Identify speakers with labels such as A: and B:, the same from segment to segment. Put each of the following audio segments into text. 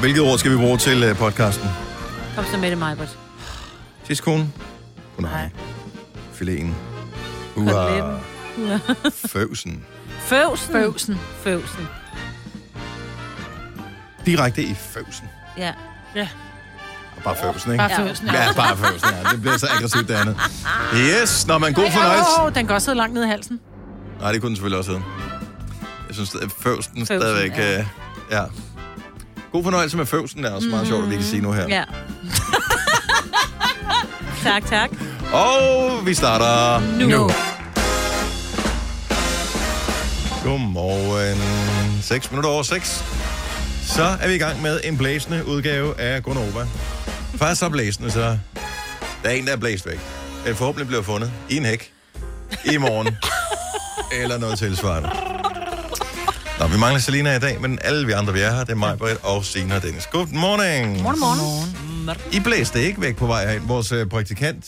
A: hvilket ord skal vi bruge til øh, podcasten?
B: Kom så med det, Majbert.
A: Tidskonen? Oh, nej. Filéen. Uha. Føvsen.
B: Føvsen.
C: Bøvsen.
B: Føvsen.
A: Direkte i føvsen.
B: Ja.
A: Bare føvsen, ikke?
C: Bare føvsen. Ja.
A: Ja, bare føvsen. Ja. Det bliver så aggressivt, det andet. Yes, når man god fornøjelse.
C: Åh, oh, den kan også sidde langt ned i halsen.
A: Nej, det kunne den selvfølgelig også hedde. Jeg synes, at føvsen stadigvæk...
B: ja.
A: Ja. ja. God fornøjelse med føvsen, det er også meget
C: Mhm.
A: sjovt, at vi kan sige nu her.
B: Ja. tak, tak.
A: Og vi starter nu.
B: Nu.
A: Godmorgen. 6 minutter over 6. Så er vi i gang med en blæsende udgave af Gonova. Faktisk så blæsende, så der er en, der er blæst væk. Den forhåbentlig bliver fundet i en hæk i morgen. Eller noget tilsvarende. Nå, vi mangler Selina i dag, men alle vi andre, vi er her, det er mig, Britt og Sina og Dennis. Good morning.
C: Morgen, morgen.
A: I blæste ikke væk på vej herind. Vores øh, praktikant,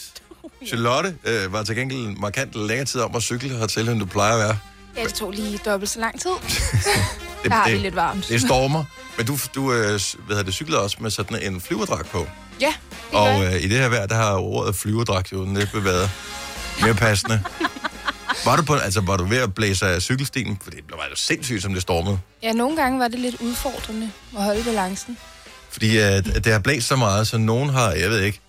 A: Charlotte, øh, var til gengæld markant længere tid om at cykle hertil, end du plejer at være.
D: Ja, det tog lige dobbelt så lang tid.
A: Det,
D: Der har vi lidt varmt.
A: Det stormer. Men du, du øh, s- hvad hedder det, cykler også med sådan en flyverdragt på.
D: Ja, det
A: Og
D: gør jeg.
A: øh, i det her vejr, der har ordet flyverdragt jo næppe været mere passende. Var du, på, altså, var du ved at blæse af cykelstien? For det var jo sindssygt, som det stormede.
D: Ja, nogle gange var det lidt udfordrende at holde balancen.
A: Fordi at, at det har blæst så meget, så nogen har, jeg ved ikke,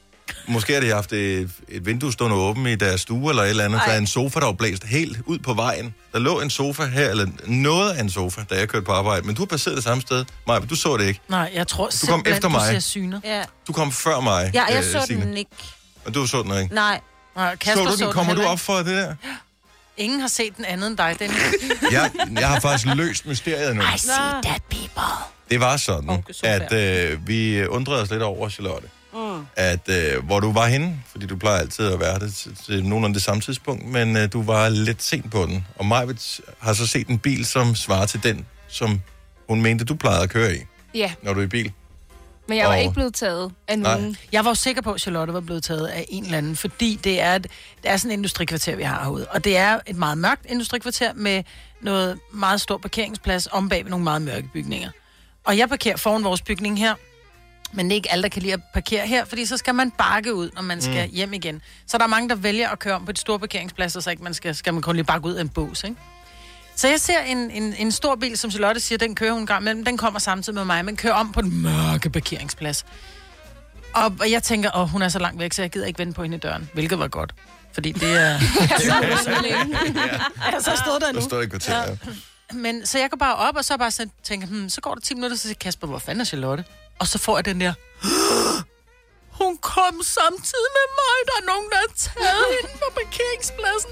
A: måske har de haft et, et vindue stående åbent i deres stue eller et eller andet. Ej. Der er en sofa, der var blæst helt ud på vejen. Der lå en sofa her, eller noget af en sofa, da jeg kørte på arbejde. Men du har passeret det samme sted. Maja, du så det ikke.
C: Nej, jeg tror simpelthen,
A: efter
C: du
A: mig.
C: ser synet.
B: Ja,
A: Du kom før mig,
B: ja jeg
A: øh,
B: så
A: Signe.
B: den ikke.
A: Men du så den ikke.
B: Nej.
C: Nej,
A: Så
C: Kasper
A: du den? Kommer du
C: heller
A: op for det der?
C: ikke. Ingen har set den anden end dig, Dennis.
A: Jeg, jeg har faktisk løst mysteriet nu.
B: Nå.
A: Det var sådan,
B: Okay, sofa.
A: at øh, vi undrede os lidt over, Charlotte, mm. at øh, hvor du var henne, fordi du plejer altid at være det til, til nogenlunde det samme tidspunkt, men øh, du var lidt sent på den. Og Majvits har så set en bil, som svarer til den, som hun mente, du plejede at køre i,
D: Ja,
A: når du er i bil.
D: men jeg var
A: Og-
D: ikke blevet taget af
A: Nej.
D: nogen.
C: Jeg var jo sikker på, at Charlotte var blevet taget af en eller anden, fordi det er, et, det er sådan et industrikvarter, vi har herude. Og det er et meget mørkt industrikvarter med noget meget stor parkeringsplads om bag ved nogle meget mørke bygninger. Og jeg parkerer foran vores bygning her, men det er ikke alle, der kan lide at parkere her, fordi så skal man bakke ud, når man skal mm. hjem igen. Så der er mange, der vælger at køre om på et stort parkeringsplads, og så ikke man skal, skal man kun lige bakke ud af en bås, ikke? Så jeg ser en, en, en stor bil, som Charlotte siger, den kører hun en gang imellem, den kommer samtidig med mig, men kører om på den mørke parkeringsplads. Og, og jeg tænker, åh, hun er så langt væk, så jeg gider ikke vente på hende i døren, hvilket var godt. Fordi det er... jeg så stod der
A: Der
C: nu.
A: står i kvarteret. Ja.
C: Men, så jeg går bare op, og så bare sådan, tænker, hmm, så går der 10 minutter, så siger Kasper, hvor fanden er Charlotte? Og så får jeg den der, hun kom samtidig med mig, der er nogen, der har taget hende på parkeringspladsen.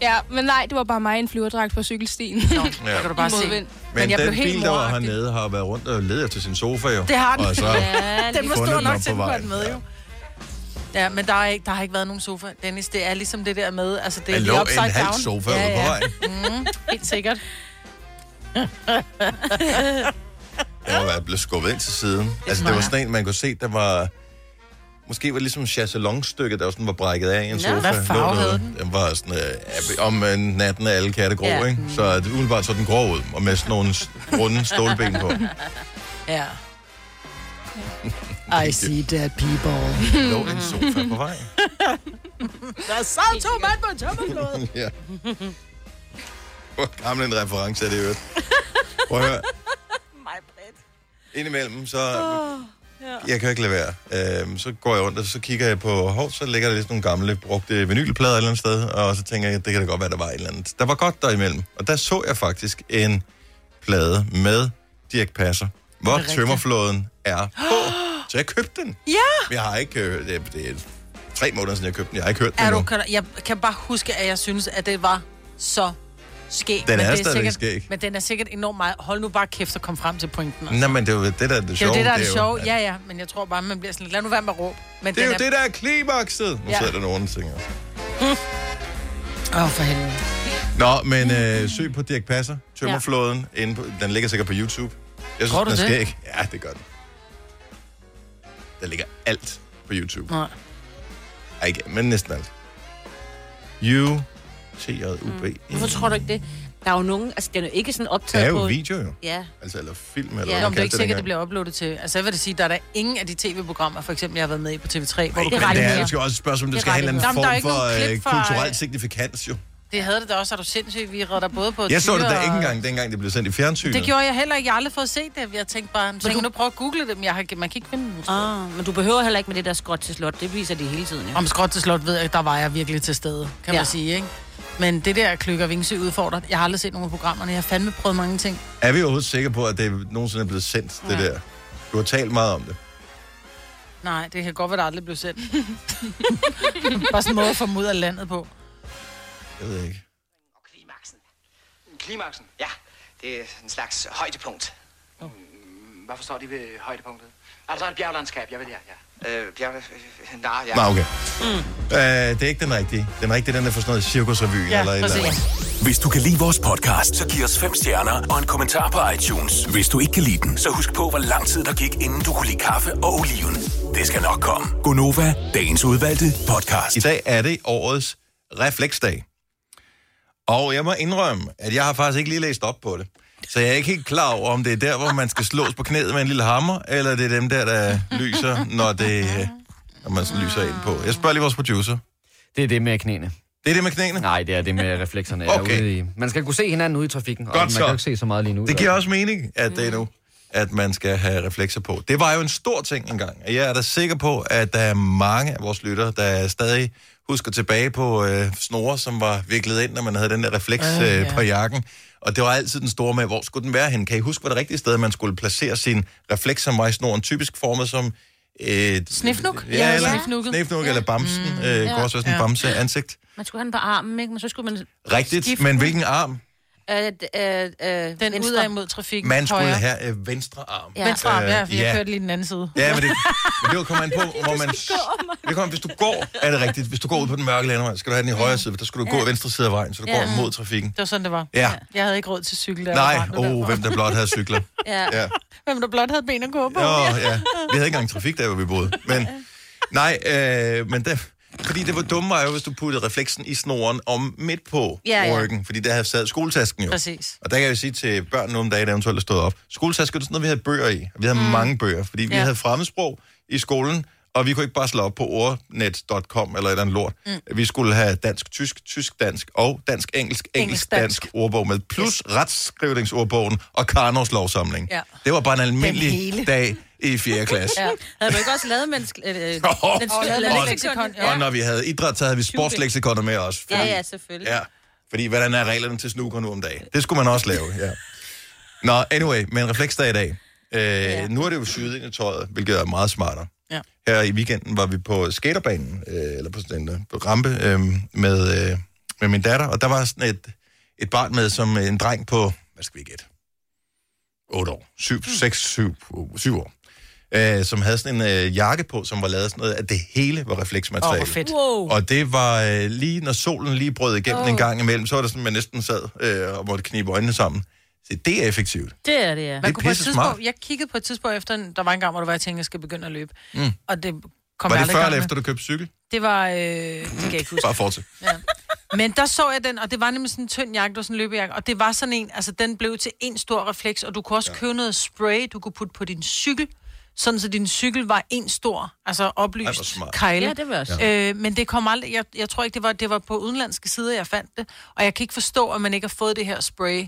D: Ja, men nej, det var bare mig i en flyverdragt på cykelstien.
C: Ja.
A: Ja.
C: Der kan du bare se.
A: Men, men
C: jeg
A: den
C: blev helt
A: bil, der var
C: moragtig.
A: hernede, har været rundt og ledet efter sin sofa jo.
C: Det har den.
A: Og så,
B: Ja,
C: Den var
A: fundet
C: stor
A: den
C: nok
A: oppe
C: til,
A: på
C: at den var den
A: vejen.
C: med,
A: Ja.
C: jo. Ja, men der, er ikke, der har ikke været nogen sofa, Dennis. Det er ligesom det der med, altså det
A: der
C: er
A: lå
C: lige
A: en
C: upside down. Mhm,
A: halv sofa ja, ja. ude på vejen.
C: Helt sikkert.
A: Jeg var blevet skubbet ind til siden. Altså, det var sådan en, man kunne se, der var... Måske var det ligesom chassalonstykket, der sådan var brækket af i en
B: Nå,
A: sofa.
C: hvad
A: Lå
C: farve
A: noget.
C: havde den?
A: Den var sådan, øh, ab- om øh, natten er alle katte grå,
B: Ja.
A: ja. ikke? Så det umiddelbart så den grå ud, og med sådan nogle s- runde stålben på.
C: Ja. I see dead people.
A: Der lå en sofa på vej.
C: Der sad to mand på tømmerflåde.
A: Ja. Hvor gammel en reference er det, i øvrigt. Prøv at høre. Indimellem, så... Jeg kan jo ikke lade være. Øhm, så går jeg rundt, og så kigger jeg på... Hov, så ligger der lidt nogle gamle brugte vinylplader et eller andet sted, og så tænker jeg, det kan da godt være, der var et eller andet. Der var godt der imellem. Og der så jeg faktisk en plade med Dirk Passer, hvor
C: rigtigt?
A: tømmerflåden er på. Så jeg købte den.
C: Ja!
A: Jeg har ikke... Øh, det, er- det er tre måneder siden, jeg købte den. Jeg har ikke hørt den
C: Er
A: endnu.
C: du, kan, jeg kan bare huske, at jeg synes, at det var så skæg.
A: Den
C: men
A: er
C: det
A: stadigvæk
C: sikkert,
A: skæg.
C: Men den er sikkert enormt meget. Hold nu bare kæft og kom frem til pointen. Altså.
A: Nej, men det er jo det, der er det
C: Det er
A: sjove.
C: jo det, der er det
A: jo-
C: sjove. Ja, ja, men jeg tror bare, man bliver sådan lidt, lad nu være med at råbe. Men
A: Det er jo
C: den
A: det, der er klimakset. Nu
C: Ja.
A: sidder der nogen og tænker.
C: Åh, oh, for helvede.
A: Nå, men øh, søg på Dirk Passer, Tømmerflåden. Ja. Inde på, den ligger sikkert på YouTube. Jeg synes,
C: Tror du
A: den er
C: det?
A: skæg. Ja, det gør den. Der ligger alt på YouTube.
C: Nej.
A: Ej, ikke, men næsten alt. You T-J-U-B.
B: Hvorfor tror du ikke det? Der er jo nogen, altså den er jo ikke sådan
A: Det
B: optaget
A: er jo
B: på...
A: video, jo.
B: Ja.
A: Altså, eller film,
B: Ja.
A: eller ja,
C: Nå,
A: hvad
C: men
A: man
C: det er
A: kaldte
C: ikke
A: det
C: sikkert, det
A: dengang.
C: bliver uploadet til. Altså, jeg vil da sige, der er der ingen af de tv-programmer, for eksempel, jeg har været med i på TV3, hvor
A: Ej,
C: det,
A: men
B: ret
A: det er
B: mere.
A: måske også et spørgsmål, om det
B: Det
A: skal have en eller
B: retter
A: anden
C: mere. Jamen, der er
A: form
C: ikke
A: for
C: nogen klip fra,
A: øh, kulturel
C: øh,
A: signifikans, jo.
C: det havde det da også, er du sindssygt. Vi redder både på
A: Jeg så det
C: tyre
A: da
C: og-
A: ikke engang, dengang det blev sendt i fjernsynet.
C: Det gjorde jeg heller ikke. Jeg har aldrig fået set det. Jeg tænkte bare, så kan du prøve at google det, men jeg har, man kan ikke finde det.
B: Ah, men du behøver heller ikke med det der skråt til slot. Det viser de hele tiden, ja.
C: Om skråt til slot ved jeg, der var jeg virkelig til stede, kan ja.
B: Ja.
C: man sige, ikke? Men det der Klyk og Vingsø udfordrer, jeg har aldrig set nogen af programmerne. Jeg har fandme prøvet mange ting.
A: Er vi overhovedet sikre på, at det nogensinde er blevet sendt, det der? Du har talt meget om det.
C: Nej, det kan godt være, der aldrig blev sendt. bare sådan en måde at få dem ud af landet på.
A: Jeg ved ikke.
E: Og klimaksen. Klimaksen? Ja, det er en slags højdepunkt. Mm, Hvad forstår de ved højdepunktet? Altså et bjerglandskab, jeg ved ja, ja. Øh, bjerg... øh, Nej, ja.
A: Nå, okay. Mm. Øh, det er ikke den rigtige. Den rigtige, den er for sådan noget cirkusrevyen ja, eller et eller andet.
F: Hvis du kan lide vores podcast, så giv os fem stjerner og en kommentar på iTunes. Hvis du ikke kan lide den, så husk på, hvor lang tid der gik, inden du kunne lide kaffe og oliven. Det skal nok komme. Gonova, dagens udvalgte podcast.
A: I dag er det årets refleksdag. Og jeg må indrømme, at jeg har faktisk ikke lige læst op på det. Så jeg er ikke helt klar over, om det er der, hvor man skal slås på knæet med en lille hammer, eller det er dem der, der lyser, når, det, øh, når man sådan lyser ind på. Jeg spørger lige vores producer.
G: Det er det med knæene.
A: Det er det med knæene?
G: Nej, det er det med reflekserne. jeg er
A: Okay.
G: ude i. Man skal kunne se hinanden ude i trafikken. og
A: Godt
G: man
A: så.
G: kan jo ikke se så meget lige nu.
A: Det giver også mening, at det er nu, at man skal have reflekser på. Det var jo en stor ting engang, og jeg er da sikker på, at der er mange af vores lyttere, der stadig husker tilbage på øh, snore, som var viklet ind, når man havde den der refleks øh,
C: Øh, ja.
A: på jakken. Og det var altid den store med, hvor skulle den være henne? Kan I huske, hvor det rigtige sted, man skulle placere sin refleks, som var i snoren, typisk formet som... Øh,
C: Snifnuk?
A: Ja,
C: Ja,
A: eller
C: snifnukket.
A: snifnuk, eller bamsen. Mm, øh, ja, også være sådan en
C: ja.
A: bamse ansigt.
B: Man skulle have den på armen, ikke? Men så skulle man...
A: Rigtigt,
B: Skift.
A: men hvilken arm?
B: Øh, øh, øh,
C: Den ud
B: venstre.
C: af mod trafikken.
A: Man skulle
C: højre.
A: have øh, venstre arm.
B: Ja.
C: Venstre arm, ja,
A: Øh,
C: for jeg
A: ja.
C: kørte lige den anden side.
A: Ja, men det, men det kommer an på, hvor man... Det kommer, hvis du går, er det rigtigt. Hvis du går ud på den mørke landevej, skal du have den i højre side, for der skal du gå i venstre side af vejen, så du går mod trafikken.
C: Det var sådan, det var.
A: Ja.
C: Jeg havde ikke råd til cykel, der
A: Nej, oh, hvem der blot havde cykler.
B: Ja.
A: Ja.
C: hvem der blot havde ben at gå på.
A: Nå, ja. Vi havde ikke engang trafik der, hvor vi boede. Men, nej, øh, men det, fordi det var dumme var jo, hvis du puttede refleksen i snoren om midt på
B: Ja, ja.
A: ryggen, fordi der havde sad skoletasken jo.
C: Præcis.
A: Og der kan jeg jo sige til børn nogle dage, der eventuelt er stået op. Skoletasker, det er sådan noget, vi havde bøger i. Vi havde mm. mange bøger, fordi vi
C: Ja.
A: havde fremmedsprog i skolen, og vi kunne ikke bare slå op på ordnet.com eller et eller andet lort. Mm. Vi skulle have dansk-tysk, tysk-dansk og dansk-engelsk, engelsk-dansk
C: Engelsk-dansk.
A: ordbog med, plus yes. retsskrivningsordbogen og Karnovs lovsamling.
C: Ja.
A: Det var bare en
C: Den
A: almindelig
C: hele.
A: dag i 4. klasse. ja.
C: Ja.
B: Havde du ikke også lavet menneske... Øh, øh,
A: og,
C: leksikon,
B: ja.
C: ja.
A: og når vi havde idræt, så havde vi sportsleksikon med os.
B: ja, ja, selvfølgelig.
A: Ja, fordi hvordan er reglerne til snooker nu om dagen? Det skulle man også lave, ja. Nå, anyway, men refleksdag i dag. Øh, ja. Nu er det jo syet ind i tøjet, hvilket er meget smartere.
C: Ja.
A: Her i weekenden var vi på skaterbanen, øh, eller på sådan en øh, på rampe, øh, med, øh, med min datter, og der var sådan et, et barn med, som øh, en dreng på, hvad skal vi gætte? 8 år. 7,
C: Hmm.
A: 6, 7, 7 år. Øh, som havde sådan en øh, jakke på, som var lavet sådan noget, at det hele var
C: Åh,
A: refleksmateriale.
C: hvor fedt.
B: Wow.
A: Og det var øh, lige, når solen lige brød igennem oh. en gang imellem, så var det sådan, man næsten sad øh, og måtte knibe øjnene sammen. Så det er effektivt.
B: Det er det, ja.
A: Det er
C: Man kunne på et
A: pisse
C: tidspunkt,
A: smart.
C: jeg kiggede på et tidspunkt efter, en- der var en gang, hvor det var, jeg tænkte, jeg skal begynde at løbe. Mm. Og det kom jeg
A: Var det
C: aldrig
A: før
C: i gang
A: eller
C: med.
A: efter, du købte cykel?
C: Det var, øh, det kan jeg ikke huske.
A: Bare fortsæt.
C: Men der så jeg den, og det var nemlig sådan en tynd jakke, det var sådan en løbejakke, og det var sådan en, altså den blev til en stor refleks, og du kunne også ja. købe noget spray, du kunne putte på din cykel, sådan så din cykel var en stor, altså
A: Ej, hvor
C: oplyst
A: smart.
C: kejle.
B: Ja, det vil jeg også.
C: Øh, men det kom aldrig, jeg, jeg tror ikke, det var, det var på udenlandske sider, jeg fandt det, og jeg kan ikke forstå, at man ikke har fået det her spray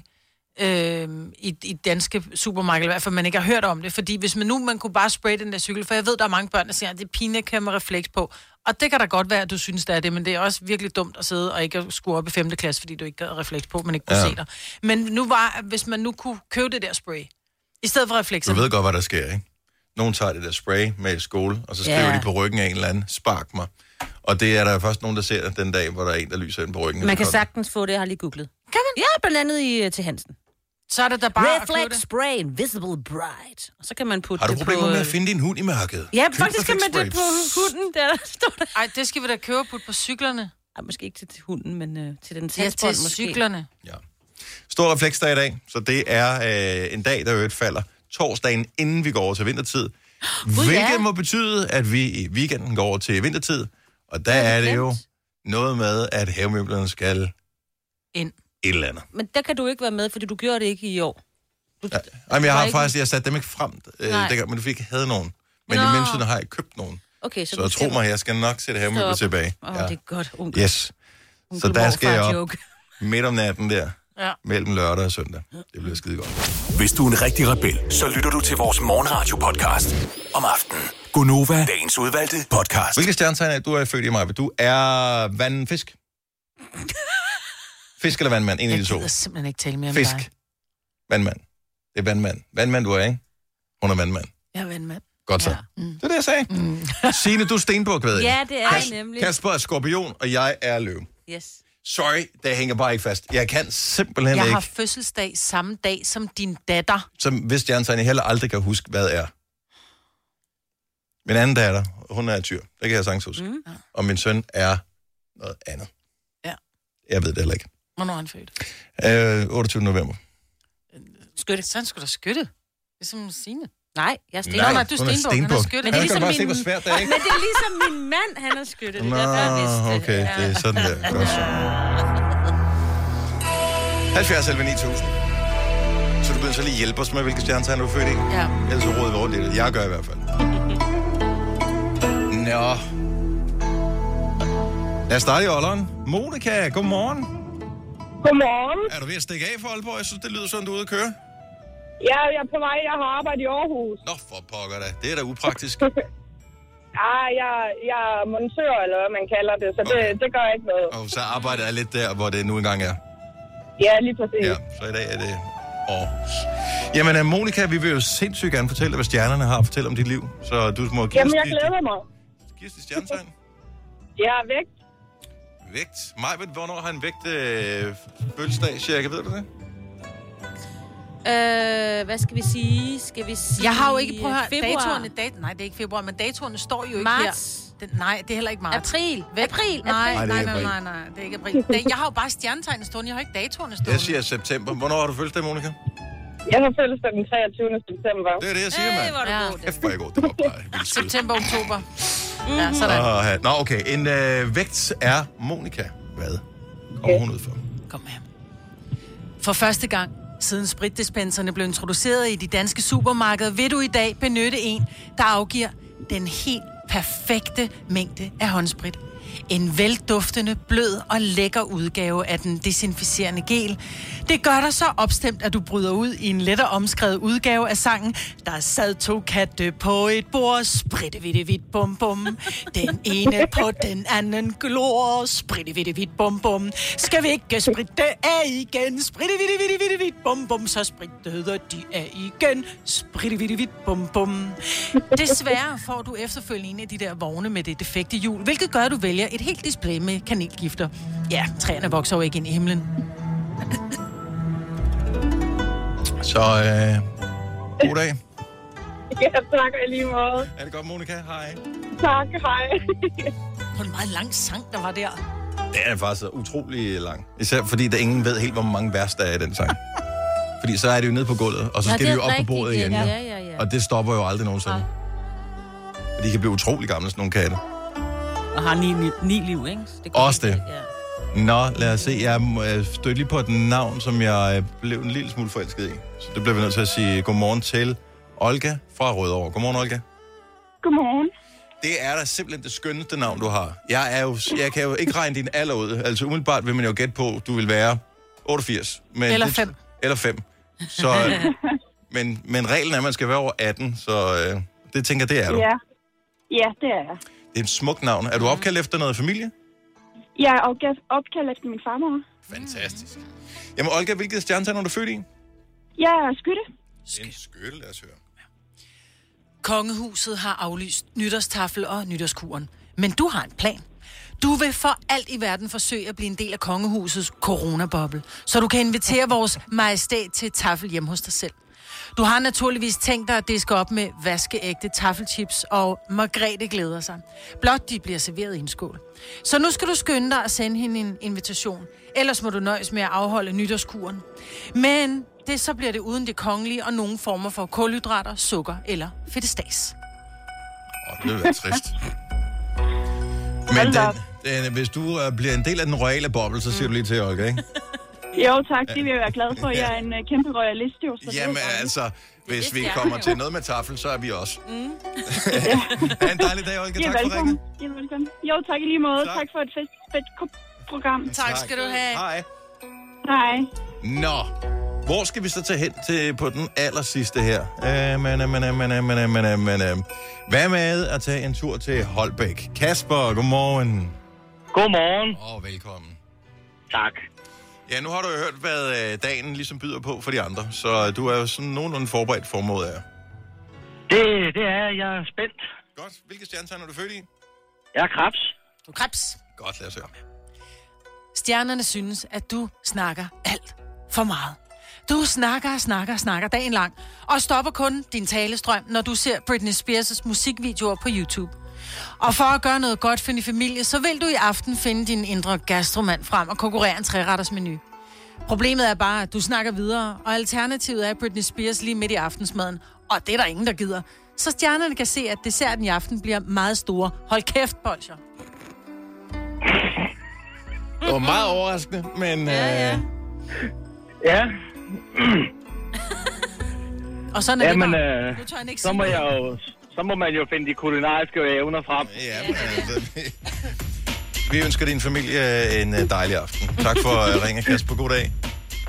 C: øh, i, i danske supermarkeder, i hvert fald man ikke har hørt om det, fordi hvis man nu, man kunne bare spraye den der cykel, for jeg ved, der er mange børn, der siger, at det er pinligt at køre med refleks på, og det kan da godt være, at du synes, det er det, men det er også virkelig dumt at sidde og ikke at skulle op i 5. klasse, fordi du ikke havde refleks på, men ikke kunne
A: Ja.
C: ja. se dig. Men nu var, hvis man nu kunne købe det der spray, i stedet for reflekser,
A: Du ved godt, hvad der sker, ikke? Nogen tager det der spray med i skole, og så skriver
B: Ja.
A: yeah. de på ryggen af en eller anden, spark mig. Og det er der først nogen, der ser den dag, hvor der er en, der lyser ind på ryggen.
B: Man kan sagtens få det, jeg har lige googlet.
C: Kan man?
B: Ja, blandt andet i, øh, til Hansen.
C: så er det da bare at købe
B: Reflex
C: det.
B: Spray Invisible Bright. Og så kan man putte
A: Har du
B: det
A: problemer
B: på...
A: med at
B: øh,
A: finde din hund i mørket?
B: Ja,
A: Køb
B: faktisk kan man det på
A: refleksspray.
B: hunden, der, der står der.
C: Ej, det skal vi da købe og putte på cyklerne.
B: Ej, måske ikke til hunden, men øh, til den
C: Ja, til
B: satsbånd måske.
C: cyklerne.
A: Ja. Stor refleksdag i dag, så det er øh, en dag, der i øvrigt falder torsdagen, inden vi går over til vintertid. Hvilket
B: ja.
A: må betyde, at vi i weekenden går over til vintertid. Og der er det jo
B: nemt.
A: noget med, at havemøblerne skal
C: ind.
A: Et eller andet.
B: Men der kan du ikke være med, fordi du gjorde det ikke i år. Du, ja.
A: Jamen, jeg
B: var
A: har
B: ikke-
A: faktisk, jeg satte dem ikke frem, øh,
B: Nej.
A: dengang, men du fik jeg havde nogen. Men i
B: Nå.
A: mellemtiden har jeg ikke købt nogen.
B: Okay, så,
A: Så jeg tro mig, jeg skal nok sætte havemøbler tilbage.
B: Åh, oh, ja. det er godt, onkel.
A: Yes.
B: onkel
A: Så der skal jeg op
B: morfar-joke.
A: midt om natten der,
C: Ja.
A: mellem lørdag og søndag. Det bliver skide godt.
F: Hvis du er en rigtig rebel, så lytter du til vores morgenradio-podcast om aftenen. Gunova, dagens udvalgte podcast.
A: Hvilke stjernetegn er det, du er født i, Maja? Du er vandfisk. Fisk eller vandmand? En af
C: Jeg
A: de to.
C: gider simpelthen ikke tale mere om
A: Fisk.
C: dig.
A: Vandmand. Det er vandmand. Vandmand, du er, ikke? Hun er vandmand.
C: Jeg er vandmand.
A: Godt så.
B: Ja.
A: Ja. Det er det, jeg sagde. Mm. Signe, du er stenbuk, ved jeg.
B: Ja, det er jeg nemlig.
A: Kasper er skorpion, og jeg er løv.
B: Yes.
A: Sorry, det hænger bare ikke fast. Jeg kan simpelthen
C: Jeg
A: ikke,
C: har fødselsdag samme dag som din datter.
A: som hvis stjernetegn, jeg heller aldrig kan huske, hvad er. Min anden datter, hun er tyr. Det kan jeg sagtens huske. Mm. Og min søn er noget andet.
C: Ja.
A: Jeg ved det heller ikke.
C: Hvornår er han født?
A: Øh, 28. november.
C: Skytte. Så han skulle da skytte. Ligesom Signe.
B: Nej, jeg er
C: Nå,
B: stenbog.
C: nej, du er
A: hun
C: stenbuk,
A: er
C: han er
A: stenbuk.
C: skytte.
A: Men
C: Men
A: det
C: det
A: er
C: er
B: ligesom
A: ligesom bare se,
B: min-
A: hvor svært det er, ikke?
B: Men det er ligesom min mand, han er skytte. Det er derfor, jeg vidste
A: Nå,
B: det.
A: okay,
B: Ja.
A: det er sådan der. Godt så. 70 11 9000. Så du kan så lige hjælpe os med, hvilke stjernetegn du er født i.
C: Ja.
A: Ellers så råder vi rundt i det. Jeg gør i hvert fald. Nå. Lad os starte i ålderen. Monika, godmorgen.
H: Godmorgen.
A: Er du ved at stikke af for Aalborg? Jeg synes, det lyder sådan, du er ude at køre.
H: Ja, jeg er på vej. Jeg har arbejdet i Aarhus.
A: Nå, for pokker da. Det er da upraktisk.
H: Ah, jeg, jeg er montør, eller hvad man kalder det, så det,
A: Okay.
H: det gør ikke noget.
A: Og så arbejder jeg lidt der, hvor det nu engang er.
H: Ja, lige præcis.
A: Ja, så i dag er det Aarhus. Jamen, øh, Monika, vi vil jo sindssygt gerne fortælle dig, hvad stjernerne har at fortælle om dit liv. Så du må give
H: Jamen, jeg
A: dit-
H: glæder mig.
A: Giv os dit stjernetegn.
H: Jeg er væk.
A: Vægt. Majbet, hvornår har han vægt øh, fødselsdag cirka? Ved du det?
B: Øh, hvad skal vi sige? Skal vi sige...
C: Jeg har jo ikke, prøv at høre,
B: februar,
C: datorerne, dat, nej, det er ikke februar, men datorerne står jo ikke
B: Marts.
C: her. Den, nej, det er heller ikke marts.
B: April. April.
C: Nej,
A: April.
C: nej, nej,
A: Nej, det er
C: nej,
A: april.
C: nej, nej, det er ikke april. Det- Jeg har jo bare stjernetegnet stående, jeg har ikke datorerne stående.
A: Jeg siger september. Hvornår har du fødselsdag, Monika?
H: Jeg har fødselsdag den 23. september.
A: Det er det, jeg siger,
B: Hey,
A: mand.
B: hvor er du
C: Ja.
B: god, Mhm. Dan.
A: Kæft, hvor er jeg god. Det var bare vildt skud.
C: September, oktober. Ja, sådan.
A: Åh, ja. Nå, okay. En øh, vægt er Monika. Hvad kommer hun ud for?
C: Kom her. For første gang siden spritdispenserne blev introduceret i de danske supermarkeder, vil du i dag benytte en, der afgiver den helt perfekte mængde af håndsprit. En velduftende, blød og lækker udgave af den desinficerende gel. Det gør dig så opstemt, at du bryder ud i en lettere omskrevet udgave af sangen Der sad to katte på et bord, sprittevidtevidt bum bum. Den ene på den anden glor, sprittevidtevidt bum bum. Skal vi ikke spritte af igen, sprittevidtevidtevidt bum bum, så sprittede de af igen, sprittevidtevidt bum bum. Desværre får du efterfølgende en af de der vogne med det defekte hjul, hvilket gør, at du vælger et helt display med kanelgifter. Ja, træerne vokser jo ikke ind i himlen.
A: Så øh, god dag.
H: Ja, tak og i lige måde.
A: Er det godt, Monika? Hej.
H: Tak, hej.
C: Det var en meget lang sang, der var der.
A: Den er faktisk utrolig lang. Især fordi, der ingen ved helt, hvor mange vers der er i den sang. Fordi så er det jo nede på gulvet, og så
B: Nå,
A: skal
B: det
A: det
B: er
A: jo op på
B: rigtigt,
A: bordet
B: ja.
A: igen. jo.
B: Ja, ja, ja.
A: Og det stopper jo aldrig nogensinde. Og de kan blive utrolig gamle, sådan nogle katte.
B: Og har ni, ni, ni liv, ikke? Så Det
A: Også
B: kan-
A: det.
B: Ja.
A: Nå, lad os se. Jeg øh, stødte lige på et navn, som jeg øh, blev en lille smule forelsket i. Så det bliver vi nødt til at sige godmorgen til Olga fra Rødovre. Godmorgen, Olga.
H: Godmorgen.
A: Det er da simpelthen det skønneste navn, du har. Jeg, er jo, jeg kan jo ikke regne din alder ud. Altså umiddelbart vil man jo gætte på, du vil være 88. Men
C: Eller
A: det-
C: fem.
A: Eller 5. Så, øh, men, men reglen er, at man skal være over 18, så øh, det tænker jeg, det er du.
H: Ja. Ja, det er jeg.
A: Det er et smukt navn. Er du opkaldt efter noget familie?
H: Jeg er opga- opkaldt efter min farmor.
A: Fantastisk. Jamen, Olga, hvilket stjernetegn er du født i? En
H: Jeg er skytte.
A: skytte, lad os høre.
C: Kongehuset har aflyst nytårstafel og nytårskuren. Men du har en plan. Du vil for alt i verden forsøge at blive en del af kongehusets coronaboble, så du kan invitere vores majestæt til taffel hjemme hos dig selv. Du har naturligvis tænkt dig, at det skal op med vaskeægte taffelchips, og Margrethe glæder sig. Blot de bliver serveret i en skål. Så nu skal du skynde dig at sende hende en invitation. Ellers må du nøjes med at afholde nytårskuren. Men det, så bliver det uden det kongelige og nogle former for kulhydrater, sukker eller fedtestas.
A: Åh, det ville være trist. Men
H: Hold da
A: den,
H: op.
A: den, hvis du øh, bliver en del af den royale boble, så siger du lige til Olga, ikke?
H: Jo, tak. Det vil jeg være glad for. Jeg er en øh, kæmpe royalist, jo. Så det er
A: Jamen
H: jo dejligt.
A: altså, hvis
B: det,
A: vi
B: vi er.
A: kommer til noget med tafel, så er vi også. Mm. ha' en dejlig dag, Olga.
H: I er
A: Tak for
H: velkommen.
A: ringen.
H: I er velkommen. Jo, tak i lige måde.
A: Tak.
H: Tak, tak for et fedt, fedt ko- program.
B: Tak skal du have.
A: Hej.
H: Hej.
A: Nå, hvor skal vi så tage hen til på den aller sidste her? Øh, men, øh, men, øh, men, øh, men, øh, men, øh, men, øh. Hvad med at tage en tur til Holbæk? Kasper, godmorgen.
I: Godmorgen.
A: Og velkommen.
I: Tak.
A: Ja, nu har du jo hørt, hvad øh, dagen ligesom byder på for de andre, så du er jo sådan nogenlunde forberedt formodet af.
I: Det, det er, jeg er spændt.
A: Godt. Hvilke stjernetegn er du født i?
I: Jeg er krebs.
C: Du krebs.
A: Godt, lad os høre.
C: Stjernerne synes, at du snakker alt for meget. Du snakker og snakker og snakker dagen lang, og stopper kun din talestrøm, når du ser Britney Spears' musikvideoer på YouTube. Og for at gøre noget godt for din familie, så vil du i aften finde din indre gastromand frem og konkurrere en træretters menu. Problemet er bare, at du snakker videre, og alternativet er Britney Spears lige midt i aftensmaden. Og det er der ingen, der gider. Så stjernerne kan se, at desserten i aften bliver meget store. Hold kæft, bolcher.
A: Det var meget overraskende, men...
B: ja.
A: øh,
I: Ja,
C: Og sådan er det
I: jamen,
C: bare.
I: øh,
C: Nu tør jeg ikke
I: så
C: sige
I: må
C: noget.
I: jeg jo... Så må man jo finde de kulinariske evner frem.
A: Ja, men altså, vi-
I: øh,
A: vi ønsker din familie øh, en øh, dejlig aften. Tak for at ringe, Kasper. God dag.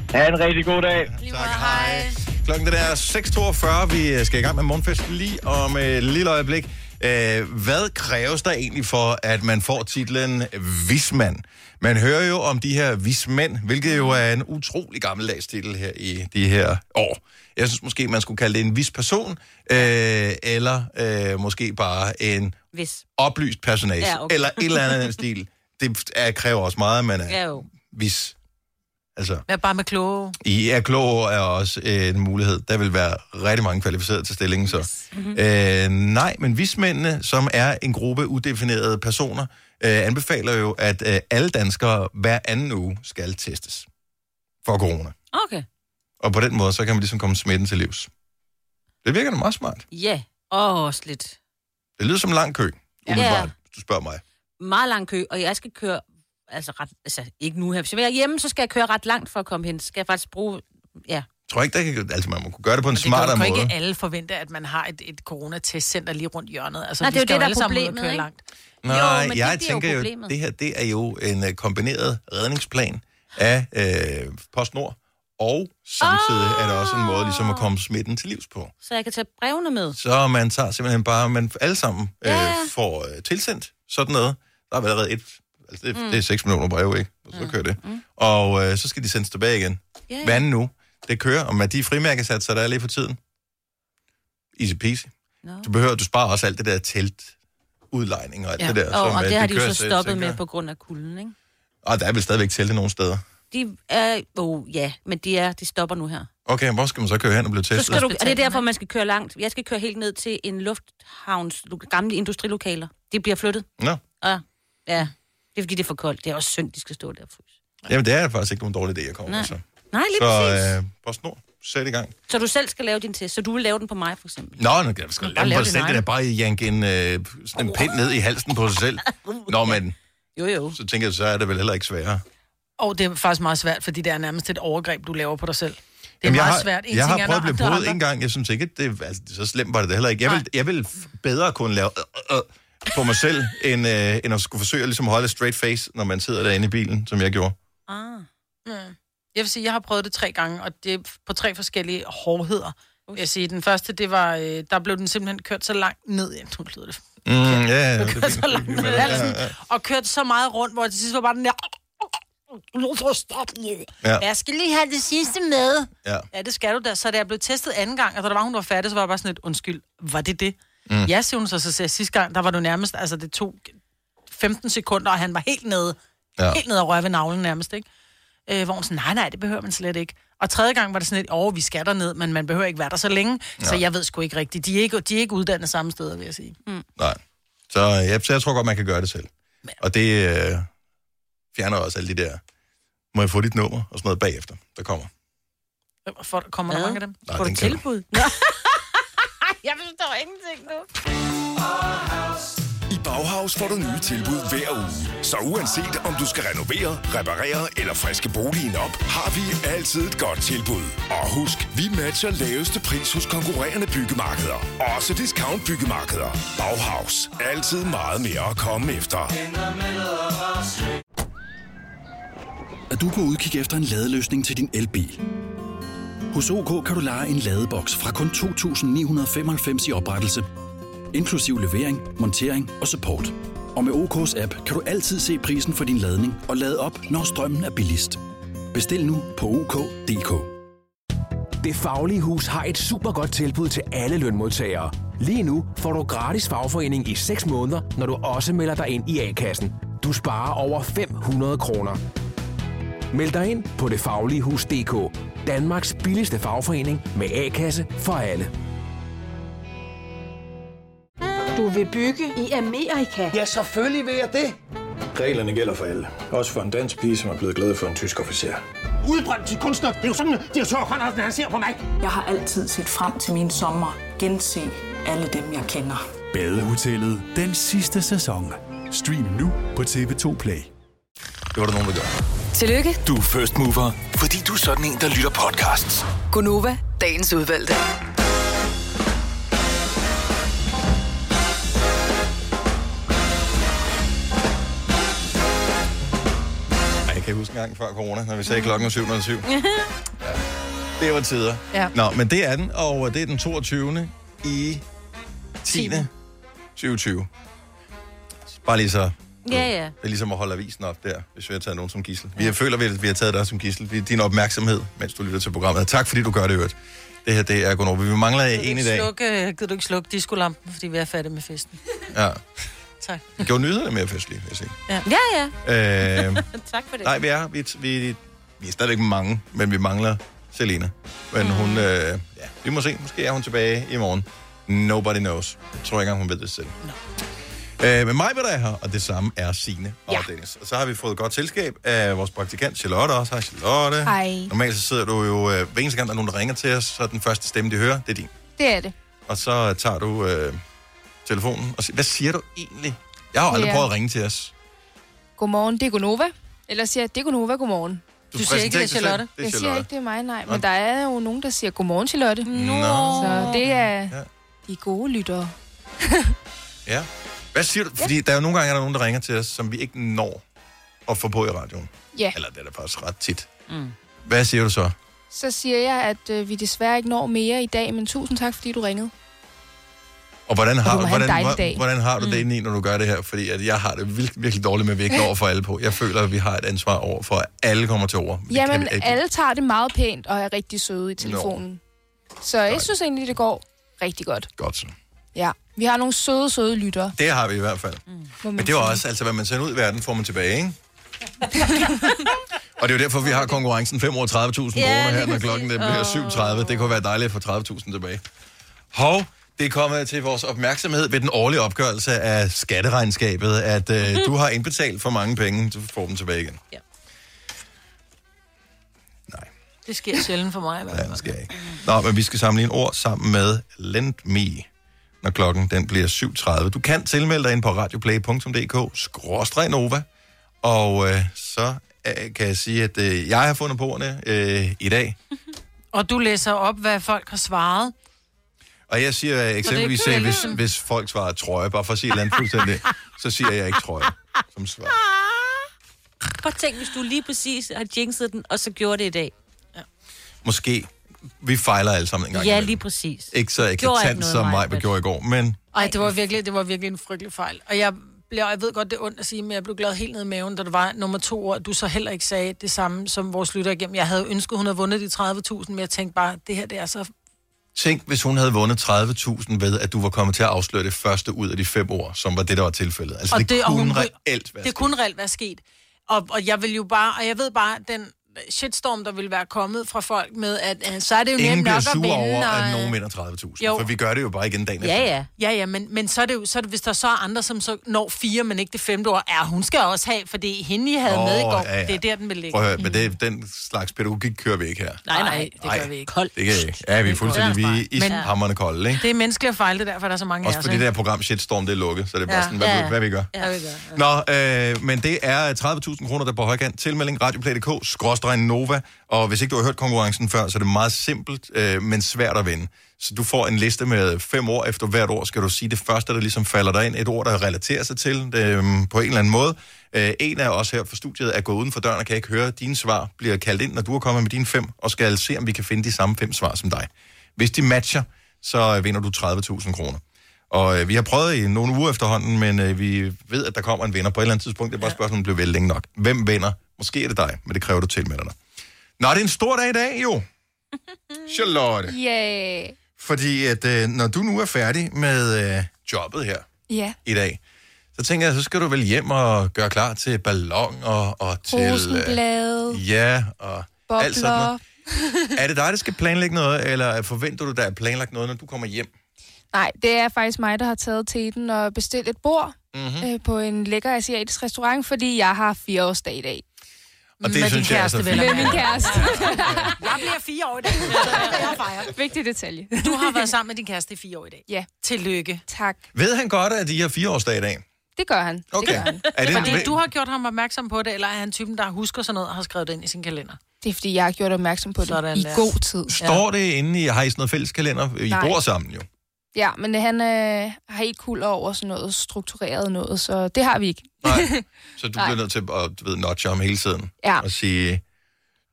I: Ha' en rigtig god dag.
B: Lige
A: Tak,
B: meget.
A: hej. Klokken den er 6.42. Vi øh, skal i gang med morgenfest lige om øh, et lille øjeblik. Øh, Hvad kræves der egentlig for, at man får titlen vismand? Man hører jo om de her vismænd, hvilket jo er en utrolig gammeldags titel her i de her år. Jeg synes måske, man skulle kalde det en vis person, øh, eller øh, måske bare en
B: Hvis.
A: oplyst personage, ja,
B: Ja,
A: okay.
B: okay.
A: eller et eller andet i den stil. Det er, kræver også meget, at man er
B: Ja
A: ja.
B: jo.
A: vis. Altså,
C: Vær bare med kloge.
A: I er klog er også øh, en mulighed. Der vil være rigtig mange kvalificerede til stillingen, så. Mm-hmm. Øh, nej, men vismændene, som er en gruppe udefinerede personer, øh, anbefaler jo, at øh, alle danskere hver anden uge skal testes for corona.
B: Okay.
A: Og på den måde, så kan man ligesom komme smitten til livs. Det virker da meget smart.
B: Ja. Åh, oh, også lidt.
A: Det lyder som en lang kø, umiddelbart, hvis du spørger mig.
B: Meget lang kø, og jeg skal køre... Altså, ret, altså ikke nu her. Hvis jeg vil hjemme, så skal jeg køre ret langt for at komme hen. Så skal jeg faktisk bruge... Ja.
A: Jeg tror ikke, der kan, altså man må kunne gøre det på en
C: Det kan
A: smartere
C: jo
A: måde.
C: ikke alle forvente, at man har et, et coronatestcenter lige rundt hjørnet. Altså,
B: Nej,
C: du
B: det er jo
C: skal
B: det, der er
C: alle sammen ud og
B: problemet,
C: køre
B: ikke?
C: Langt.
A: Nej,
B: men det
A: jeg
B: bliver jo
A: tænker jo,
B: problemet.
A: det her det er jo en øh, kombineret redningsplan af øh, PostNord, og samtidig er det også en måde ligesom at komme smitten til livs på.
B: Så jeg kan tage brevene med.
A: Så man tager simpelthen bare, man alle sammen øh,
B: Ja,
A: ja.
B: ja.
A: får øh, tilsendt sådan noget. Der er vel allerede et, altså det, mm. det er 6 millioner brev, ikke? Og så kører det. Mm. Og øh, så skal de sendes tilbage igen.
B: Ja,
A: Hvad andet nu? Det kører, og med de frimærkesatser, der er lige for tiden. Easy peasy.
B: Nå.
A: Du behøver, du sparer også alt det der telt udlejning og alt ja.
C: Ja.
A: det der.
B: Og, og
A: øh,
B: det har de jo
A: kører
B: så
A: selv,
B: stoppet
A: tænker
B: med
A: jeg.
B: på grund af kulden, ikke?
A: Og der er vel stadigvæk telte nogle steder.
B: De er... Oh, ja, men de, er, de stopper nu her.
A: Okay, hvor skal man så køre hen og blive
B: Så
A: testet?
B: skal du, og det er
C: Hospitalerne.
B: derfor, man skal køre langt. Jeg skal køre helt ned til en lufthavns lo- gamle industrilokaler. De bliver flyttet.
A: Nå,
B: Og, ja, det er fordi, det er for koldt. Det er også synd, de skal stå der og fryse.
A: jamen det er faktisk ikke nogen dårlig idé, jeg kommer med.
B: Nej.
A: Så,
B: Nej, lige præcis.
A: så øh, PostNord, sæt i gang.
B: Så du selv skal lave din test. Så du vil lave den på mig, for eksempel.
A: Nå, nu kan jeg skal
C: bare
A: lave
C: lave
A: på
C: din
A: selv, det
C: egen.
A: der bare janke en, øh, sådan en pind ned i halsen på sig selv. Nå, men
B: Jo, jo.
A: så tænker jeg, så er det vel heller ikke sværere.
C: Og det er faktisk meget svært, fordi det er nærmest et overgreb, du laver på dig selv. Det er
A: Jamen, jeg
C: meget
A: har,
C: svært. En
A: Jeg
C: ting
A: har
C: er,
A: prøvet at
C: når
A: blive
C: andre-
A: prøvet en gang. Jeg synes ikke, at det, altså, så slemt var det da heller ikke. Jeg vil, jeg vil f- bedre kunne lave øh, øh, på mig selv, end, øh, end at skulle forsøge at ligesom holde et straight face, når man sidder derinde i bilen, som jeg gjorde.
B: Ah.
C: Mm. Jeg vil sige, jeg har prøvet det tre gange, og det er på tre forskellige hårdheder. Vil Jeg siger, den første, det var, øh, der blev den simpelthen kørt så langt ned, ja, nu lyder det,
A: Mm, yeah, ja, det er
C: kørt
A: fint.
C: så langt ned i halsen, og kørt så meget rundt, hvor det til sidst var bare den der, nu får stop ned.
A: Ja.
C: Jeg skal lige have det sidste med.
A: ja.
C: Ja, det skal du da. Så da jeg blev testet anden gang, og da der var, hun var færdig, så var jeg bare sådan lidt, undskyld, var det det? Mm. Ja, siger hun så, så siger jeg, sidste gang, der var du nærmest, altså det tog 15 sekunder, og han var helt nede,
A: Ja.
C: ja. helt nede og røre ved navlen nærmest, ikke? Øh, hvor hun sådan, nej, nej, det behøver man slet ikke. Og tredje gang var det sådan lidt, åh, vi skal derned, men man behøver ikke være der så længe, ja. så jeg ved sgu ikke rigtigt. De er ikke, de er ikke uddannet samme steder, vil jeg sige.
A: Nej. Så øh, jeg, så jeg tror godt, man kan gøre det selv. Og det øh, fjerner også alle de der, må jeg få dit nummer og sådan noget bagefter, der kommer.
C: For, kommer der
B: Hvad?
C: mange af dem?
A: Nej,
B: Får du
A: den kan du.
B: tilbud? Nå. jeg forstår ingenting nu.
F: I
J: Bauhaus får du nye tilbud hver uge. Så uanset om du skal renovere, reparere eller friske boligen op, har vi altid et godt tilbud. Og husk, vi matcher laveste pris hos konkurrerende byggemarkeder. Også discount byggemarkeder. Bauhaus. Altid meget mere at komme efter.
K: Er du på udkig efter en ladeløsning til din elbil? Hos OK kan du lege en ladeboks fra kun 2.995 i oprettelse, inklusiv levering, montering og support. Og med OK's app kan du altid se prisen for din ladning og lade op, når strømmen er billigst. Bestil nu på OK.dk.
L: Det Faglige Hus har et super godt tilbud til alle lønmodtagere. Lige nu får du gratis fagforening i 6 måneder, når du også melder dig ind i A-kassen. Du sparer over 500 kroner. Meld dig ind på detfagligehus.dk. Danmarks billigste fagforening med A-kasse for alle.
M: Du vil bygge i Amerika? Ja, selvfølgelig vil jeg det.
N: Reglerne gælder for alle. Også for en dansk pige, som er blevet glad for en tysk officer.
O: Udbrændt til kunstner. Det er jo sådan, at de har han ser på mig. Jeg har altid set frem til min sommer. Gense alle dem, jeg kender.
P: Badehotellet den sidste sæson. Stream nu på TV2 Play.
A: Det var der nogen, der gør.
Q: Tillykke.
F: Du er first mover, fordi du er sådan en, der lytter podcasts.
Q: Gunova, dagens udvalgte.
A: Ej, jeg kan huske en gang før corona, når vi sagde klokken var 707. Det var tider.
C: Ja.
A: Nå, men det er den, og øh, det er den 22. i 10. 2020. Bare lige så.
B: Ja, ja.
A: Det er ligesom at holde avisen op der, hvis vi har taget nogen som gissel. Vi har- føler, at vi har taget dig som gissel. Det er din opmærksomhed, mens du lytter til programmet. Tak, fordi du gør det, i øvrigt. Det her, det er Gunnar. Vi mangler en i dag.
C: Slukke, gider du ikke slukke discolampen, fordi vi er færdige med festen?
A: Ja.
C: Tak.
A: Det gjorde nyhederne mere festlige, vil jeg sige.
C: Ja,
B: ja. ja.
A: Øh,
B: tak for det.
A: nej, vi er, vi, vi, vi er stadigvæk mange, men vi mangler Selena. Men mm. hun, øh, ja, vi må se. Måske er hun tilbage i morgen. Nobody knows. Jeg tror ikke engang, hun ved det selv. No. Øh, men mig vil der er her, og det samme er Signe og ja. Dennis. Og så har vi fået godt selskab af vores praktikant Charlotte også. Hej Charlotte.
D: Hej.
A: Normalt så sidder du jo, øh, hver eneste gang der er nogen, der ringer til os, så er den første stemme, de hører, det er din.
D: Det er det.
A: Og så tager du øh, telefonen og siger, hvad siger du egentlig? Jeg har jo aldrig
D: Ja.
A: prøvet at ringe til os.
D: Godmorgen, det er Gunova. Eller siger jeg, det er Gunova, godmorgen.
A: Du Du siger ikke, det er præsenterer dig selv. Charlotte. Det er
D: Jeg siger
A: Charlotte.
D: ikke, det er mig, nej.
A: Nå.
D: Men der er jo nogen, der siger, godmorgen, Charlotte.
A: Nå.
D: Så det er
A: Ja.
D: de gode lyttere.
A: Ja. Hvad siger du? Fordi der er jo nogle gange, er der nogen, der ringer til os, som vi ikke når at få på i radioen.
D: Ja.
A: Eller det er der faktisk ret tit. Mm. Hvad siger du så?
D: Så siger jeg, at øh, vi desværre ikke når mere i dag, men tusind tak, fordi du ringede.
A: Og hvordan
D: Og
A: har,
D: du må have en
A: hvordan,
D: dejlig
A: hvor-
D: dag. Mm.
A: hvordan har du det inde i, når du gør det her? Fordi at jeg har det virkelig, virkelig dårligt med, at vi ikke når for alle på. Jeg føler, at vi har et ansvar over for, at alle kommer til ord. Det kan
D: Jamen,
A: vi ikke.
D: alle tager det meget pænt og er rigtig søde i telefonen. Så jeg synes egentlig, det går rigtig godt.
A: Godt så.
D: Ja, vi har nogle søde, søde lyttere.
A: Det har vi i hvert fald.
D: må man
A: Men det var
D: sige.
A: også, altså hvad man sender ud i verden, får man tilbage, ikke? Og det er jo derfor, vi har konkurrencen 5 over 30.000
B: Ja,
A: kroner her,
B: lige
A: når
B: præcis.
A: klokken den bliver
B: Åh.
A: 7.30. Det kunne være dejligt at få 30.000 tilbage. Hov, det er kommet til vores opmærksomhed ved den årlige opgørelse af skatteregnskabet, at øh, du har indbetalt for mange penge, du får dem tilbage igen.
C: Det sker sjældent for mig. Ja, det
A: sker ikke. Nå, men vi skal samle en ord sammen med Lend Me, når klokken den bliver 7.30. Du kan tilmelde dig ind på radioplay.dk, skråstreg Nova, og øh, så øh, kan jeg sige, at øh, jeg har fundet på ordene øh, i dag,
C: Og du læser op, hvad folk har svaret.
A: og jeg siger øh, eksempelvis,
C: Så det er
A: øh,
C: ikke
A: hvis,
C: sådan.
A: hvis folk svarer trøje, bare for at sige et eller andet fuldstændig, så siger jeg ikke trøje som svar.
B: Prøv at tænk, hvis du lige præcis har jinxet den, og så gjorde det i dag.
A: Måske. Vi fejler alle sammen en gang.
B: Ja,
A: imellem.
B: lige præcis.
A: Ikke så
B: Gjorde ikke
A: eklatant
B: noget,
A: som
B: Maja,
A: mig, vi
B: men-
A: gjorde i går, men
C: Ej, det var virkelig, det var virkelig en frygtelig fejl. Og jeg, blev, jeg ved godt, det er ondt at sige, men jeg blev glad helt ned i maven, da det var nummer to år. Du så heller ikke sagde det samme som vores lytter igennem. Jeg havde ønsket, hun havde vundet de 30.000, men jeg tænkte bare, det her det er så...
A: Tænk, hvis hun havde vundet 30.000 ved, at du var kommet til at afsløre det første ud af de fem år, som var det, der var tilfældet. Altså, det, det
C: og
A: kunne
C: hun-
A: reelt være
C: Det kunne reelt være sket. Og, og jeg vil jo bare, og jeg ved bare, den shitstorm, der ville være kommet fra folk med, at øh, så er det jo
A: Ingen
C: nemt
A: bliver
C: nok at
A: sure
C: vinde.
A: over,
C: og,
A: at
C: øh,
A: nogen vinder 30.000,
C: Jo.
A: for vi gør det jo bare igen dagen efter.
C: Ja, ja. Ja, ja, men, men så er det jo, så er det, hvis der så er andre, som så når fire, men ikke det femte år, ja, hun skal også have, for det er hende, I havde
A: Åh,
C: med i går.
A: ja, ja.
C: Det er der, den vil ligge.
A: Prøv at høre, men det, den slags pædagogik kører vi ikke her.
C: Nej, nej, det gør vi ikke.
A: Det kan jeg ikke. Ja, vi er fuldstændig vi er
C: Men-
A: ishammerende kolde, ikke?
C: Mm. Det er menneskeligt at fejle, det er derfor, der er så mange af
A: Også
C: os.
A: fordi det
C: ikke?
A: her program Shitstorm, det er lukket, så det er bare
C: Ja.
A: sådan, hvad,
C: Ja,
A: ja.
C: ja.
A: hvad vi gør.
C: Ja, vi gør.
A: Nå, øh, men det er 30.000 kroner, der er på højkant. Tilmelding radioplay.dk, skråstreg Nova. Og hvis ikke du har hørt konkurrencen før, så er det meget simpelt, øh, men svært at vinde. Så du får en liste med fem ord. Efter hvert ord skal du sige det første, der ligesom falder dig ind. Et ord, der relaterer sig til øh, på en eller anden måde. Øh, en af os her fra studiet er gået uden for døren og kan ikke høre. Dine svar bliver kaldt ind, når du er kommet med dine fem, og skal se, om vi kan finde de samme fem svar som dig. Hvis de matcher, så vinder du 30.000 kroner. Og øh, vi har prøvet i nogle uger efterhånden, men øh, vi ved, at der kommer en vinder på et eller andet tidspunkt. Det er bare et spørgsmål, om det bliver vel længe nok. Hvem vinder? Måske er det dig, men det kræver du tilmelder dig. Nå, det er en stor dag i dag, jo. Charlotte.
D: Yeah.
A: Fordi at, øh, når du nu er færdig med øh, jobbet her
D: Ja.
A: i dag, så tænker jeg, så skal du vel hjem og gøre klar til ballon og, og til... øh,
D: Rosenblade,
A: ja, og alt sådan
D: bobler.
A: noget. Er det dig, der skal planlægge noget, eller forventer du, der er planlagt noget, når du kommer hjem?
D: Nej, det er faktisk mig, der har taget teten og bestilt et bord
A: Mhm.
D: mm-hmm. øh, på en lækker asiatisk restaurant, fordi jeg har fireårsdag i dag.
A: Og det Med synes din jeg er så kæreste, fint. vel at
D: Med min
A: mærke.
D: kæreste.
C: Jeg bliver fire år i dag.
D: Vigtig detalje.
C: Du har været sammen med din kæreste i fire år i dag.
D: Ja.
C: Tillykke.
D: Tak.
A: Ved han godt, at de har fireårsdag i dag?
D: Det gør han.
A: Okay.
D: Det, gør han.
A: Er det en-
C: Fordi du har gjort ham opmærksom på det, eller er han typen, der husker sådan noget og har skrevet det ind i sin kalender?
D: det er, fordi jeg har gjort opmærksom på det
C: Sådan
D: i
C: der.
D: god tid.
A: Står det inde i, har I sådan noget fælles kalender? I
D: Nej.
A: bor sammen jo.
D: Ja, ja men han øh, har ikke kul over sådan noget struktureret noget, så det har vi ikke.
A: Nej. Så du
D: Nej.
A: bliver nødt til at du ved, notche ham hele tiden.
D: Ja.
A: Og sige,
D: Lille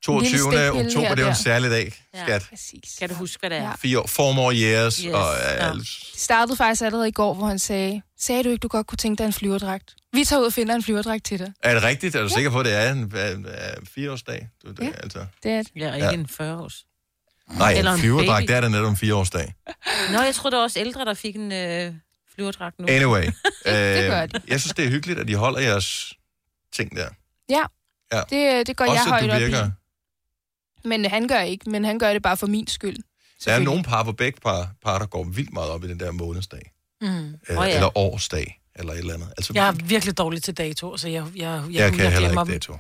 A: 22.
D: stikpille
A: oktober,
D: her
A: det er jo en
D: og der.
A: særlig dag, skat.
D: Præcis.
B: Kan du huske, hvad det er?
A: Fire år, four more years,
B: Yes.
A: yes. og ja.
D: Det startede faktisk allerede i går, hvor han sagde, sagde du ikke, du godt kunne tænke dig en flyverdragt? Vi tager ud og finder en flyverdragt til dig.
A: er det rigtigt? Er du sikker på, at det er en, en, en fireårsdag? Du, det, ja. altså.
D: Det er det.
B: Ja, og ikke
A: Ja.
B: en 40-års.
A: Nej,
B: Eller
A: en
B: en
A: flyverdragt,
B: baby.
A: det er da netop en fireårsdag.
B: Nå, jeg tror, der var også ældre, der fik en øh, flyverdragt nu.
A: Anyway,
D: gør
A: øh,
D: de.
A: jeg synes, det er hyggeligt, at I holder jeres ting der.
D: Ja,
A: Ja.
D: det, det går
A: Også,
D: jeg
A: at
D: højt
A: du
D: op
A: virker.
D: i. Men han gør ikke, men han gør det bare for min skyld.
A: Der er nogle par, hvor begge par, par, der går vildt meget op i den der månedsdag.
C: Mm.
A: Eller, oh, ja. eller årsdag, eller et eller andet. Altså,
C: Jeg er virkelig dårlig til dato, så jeg, jeg, jeg,
A: Jeg, jeg kan heller
C: glemmer
A: ikke
C: dem.
A: dato.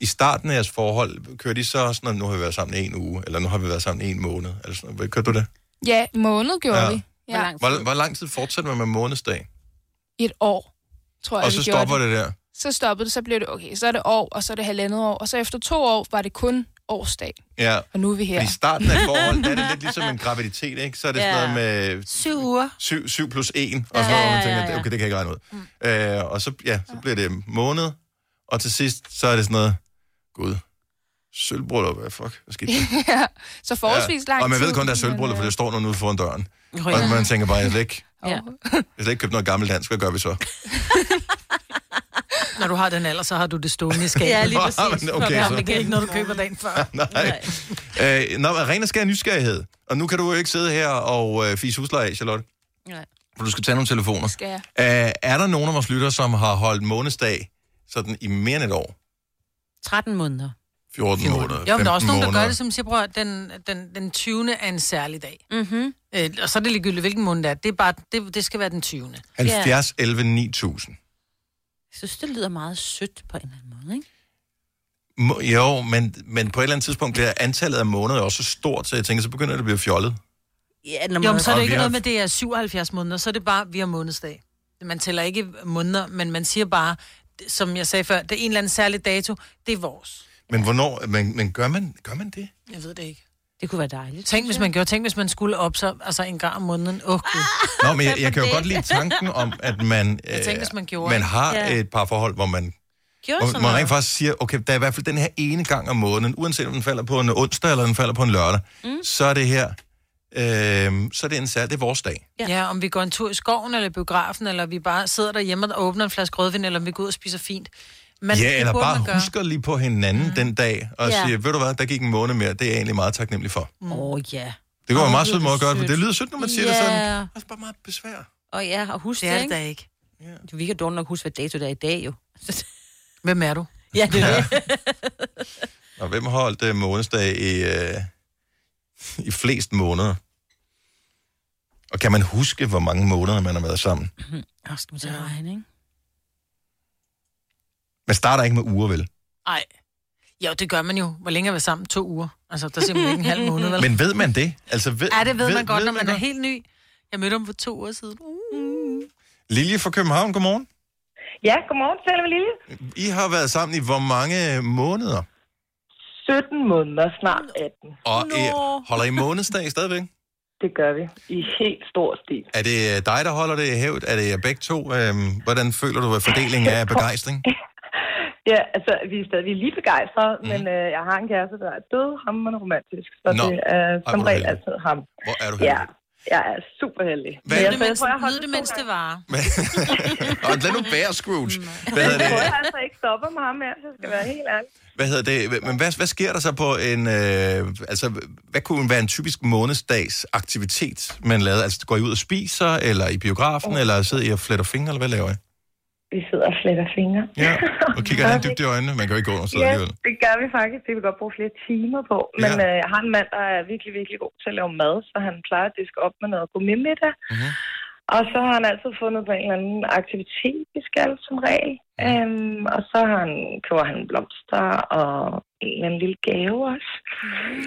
A: I starten af jeres forhold, kører de så sådan, at nu har vi været sammen en uge, eller nu har vi været sammen en måned, eller sådan noget. Kørte du det?
D: Ja, måned gjorde
A: Ja.
D: ja. vi. Ja.
A: Hvor, hvor lang tid fortsætter man med månedsdag?
D: I et år, tror jeg,
A: Og
D: vi
A: så
D: gjorde
A: stopper det der.
D: Så stoppede det, så blev det okay. Så er det år, og så er det halvandet år. Og så efter to år var det kun årsdag.
A: Ja.
D: Og nu er vi her.
A: Fordi i starten af et forhold, der er det lidt ligesom en graviditet, ikke? Så er det sådan
D: Ja.
A: noget med
C: Syv uger.
A: 7, 7 plus 1, og sådan noget, hvor man tænker, okay, det kan jeg ikke regne ud. Mm. Øh, og så, ja, så bliver det måned, og til sidst, så er det sådan noget, gud, sølvbryllup, hvad fuck, hvad skete der?
D: ja. Så forholdsvis ja. lang tid.
A: Og man ved kun, der er sølvbryllup,
D: men,
A: for
D: øh,
A: det står nogen ude foran døren.
D: Jo,
A: Og
D: ja.
A: man tænker bare, jeg slet ikke,
D: Ja.
A: jeg slet ikke købt noget gammelt dansk, hvad gør vi så?
C: Når du har den alder, så har du det stående i skabet.
A: Ja, lige præcis.
C: Men
A: Okay,
C: ja,
A: så-
C: men det er ikke noget, du køber dagen før.
A: Nej. Øh, nå, men ren og skær nysgerrighed. Og nu kan du jo ikke sidde her og øh, fise husleje af, Charlotte.
B: Nej.
A: For du skal tage nogle telefoner.
D: Skal jeg?
A: Øh, er der nogen af vores lyttere, som har holdt månedsdag sådan i mere end et år?
B: 13 måneder.
A: 14, måneder,
C: Jo, men der er
A: 15
C: også nogen, der
A: måneder.
C: gør det, som siger, prøv at den, den, den 20. er en særlig dag. Mm-hmm. Øh, og så er det ligegyldigt, hvilken måned det er. Det, er bare, det, det skal være den 20.
A: 70, 11, 9000.
B: Jeg synes, det lyder meget sødt på en eller anden måde, ikke?
A: Må- Jo, men, men på et eller andet tidspunkt bliver antallet af måneder jo også så stort, så jeg tænker, så begynder det at blive fjollet.
B: Ja,
C: jo, men så er det
A: Og
C: ikke
A: vi har-
C: noget med, at det er 77 måneder, så er det bare, vi har månedsdag. Man tæller ikke måneder, men man siger bare, det- som jeg sagde før, det er en eller anden særlig dato, det er vores.
A: Men hvornår, men, men gør, man, gør man det?
C: Jeg ved det ikke.
B: Det kunne være dejligt.
C: Tænk, hvis man gjorde, tænk, hvis man skulle op så, altså en gang om måneden. Åh, Gud.
A: Ah! Nå, men jeg, jeg kan jo godt lide tanken om, at man, øh,
C: Jeg tænkte, hvis man gjorde
A: man
C: det.
A: har
C: Ja.
A: et par forhold, hvor man
C: Gjorde
A: Og man rent faktisk siger, okay, der er i hvert fald den her ene gang om måneden, uanset om den falder på en onsdag eller den falder på en lørdag, mm. så er det her, øh, så er det en sær, det er vores dag.
C: Ja. ja, om vi går en tur i skoven, eller i biografen, eller vi bare sidder derhjemme og åbner en flaske rødvin, eller om vi går ud og spiser fint.
A: Man, ja,
C: det
A: eller
C: burde
A: bare
C: man gøre.
A: husker lige på hinanden mm. den dag, og
C: Ja.
A: ja. siger, ved du hvad, der gik en måned mere, det er jeg egentlig meget taknemmelig for.
B: Åh, mm. oh, ja.
A: Det går
B: Åh,
A: en meget
B: lyder
A: sød måde at gøre det, for
B: sødt.
A: det lyder sødt, når man siger
B: ja.
A: det sådan.
B: Også
A: bare meget besvær.
B: Og ja, og husk
C: Det
B: det,
C: er det
B: ikke?
C: da ikke.
B: Du, vi kan dårligt nok huske, hvad dato det er i dag, jo.
C: Hvem er du?
B: Ja, det er det.
A: Og hvem har holdt øh, månedsdag i, øh, i flest måneder? Og kan man huske, hvor mange måneder man har været sammen?
B: Åh, skal man til at regne, ikke?
A: Man starter ikke med uger, vel?
C: Nej. Jo, det gør man jo. Hvor længe er vi sammen? To uger. Altså, der ser man ikke en halv måned. Vel?
A: Men ved man det? Altså, ved,
C: ja, det ved, man godt, når man, er helt ny. Jeg mødte ham for to år siden.
B: Mm.
A: Lilje fra København, godmorgen.
R: Ja, godmorgen, Selve Lille.
A: I har været sammen i hvor mange måneder?
R: 17 måneder, snart 18.
A: Og I, holder I månedsdag stadigvæk?
R: Det gør vi. I helt stor stil.
A: Er det øh, dig, der holder det i hævd? Er det jer begge to? Øhm, hvordan føler du, at fordelingen er af begejstring?
R: Ja, altså, vi er stadig vi er lige begejstrede,
A: Mhm.
R: mm. men øh, jeg har en kæreste, der er død, ham er romantisk, så
A: Nå.
R: Nå. det er som
A: Ej, hvor er du
R: regel
A: heldig.
R: altid ham.
A: Hvor er du
R: Ja, jeg er super heldig.
A: Hvad-
R: Men jeg,
A: Nyd det,
R: så jeg
C: mens-
R: tror, jeg holder
C: nyd det, mens det varer.
A: Og lad nu bære, Scrooge. Hvad
R: Jeg
A: hedder
R: tror,
A: det?
R: jeg altså ikke stopper med ham her, så jeg skal være helt ærlig.
A: Hvad hedder det? Men hvad, hvad sker der så på en... Øh, altså, hvad kunne være en typisk månedsdags aktivitet, man lavede? Altså, går I ud og spiser, eller i biografen, oh. eller sidder I og fletter fingre, eller hvad laver I?
R: Vi sidder og fletter fingre.
A: Ja, og kigger han dybt i øjnene. Man kan jo ikke gå under stedet
R: Ja,
A: alligevel.
R: det gør vi faktisk. Det vil godt bruge flere timer på. Men
A: Ja.
R: øh, jeg har en mand, der er virkelig, virkelig god til at lave mad, så han plejer at diske op med noget gourmetmiddag.
A: Mhm.
R: Og så har han altid fundet på en eller anden aktivitet, vi skal som regel.
A: Mhm.
R: Øhm, og så har han, køber han blomster og en eller anden lille gave også.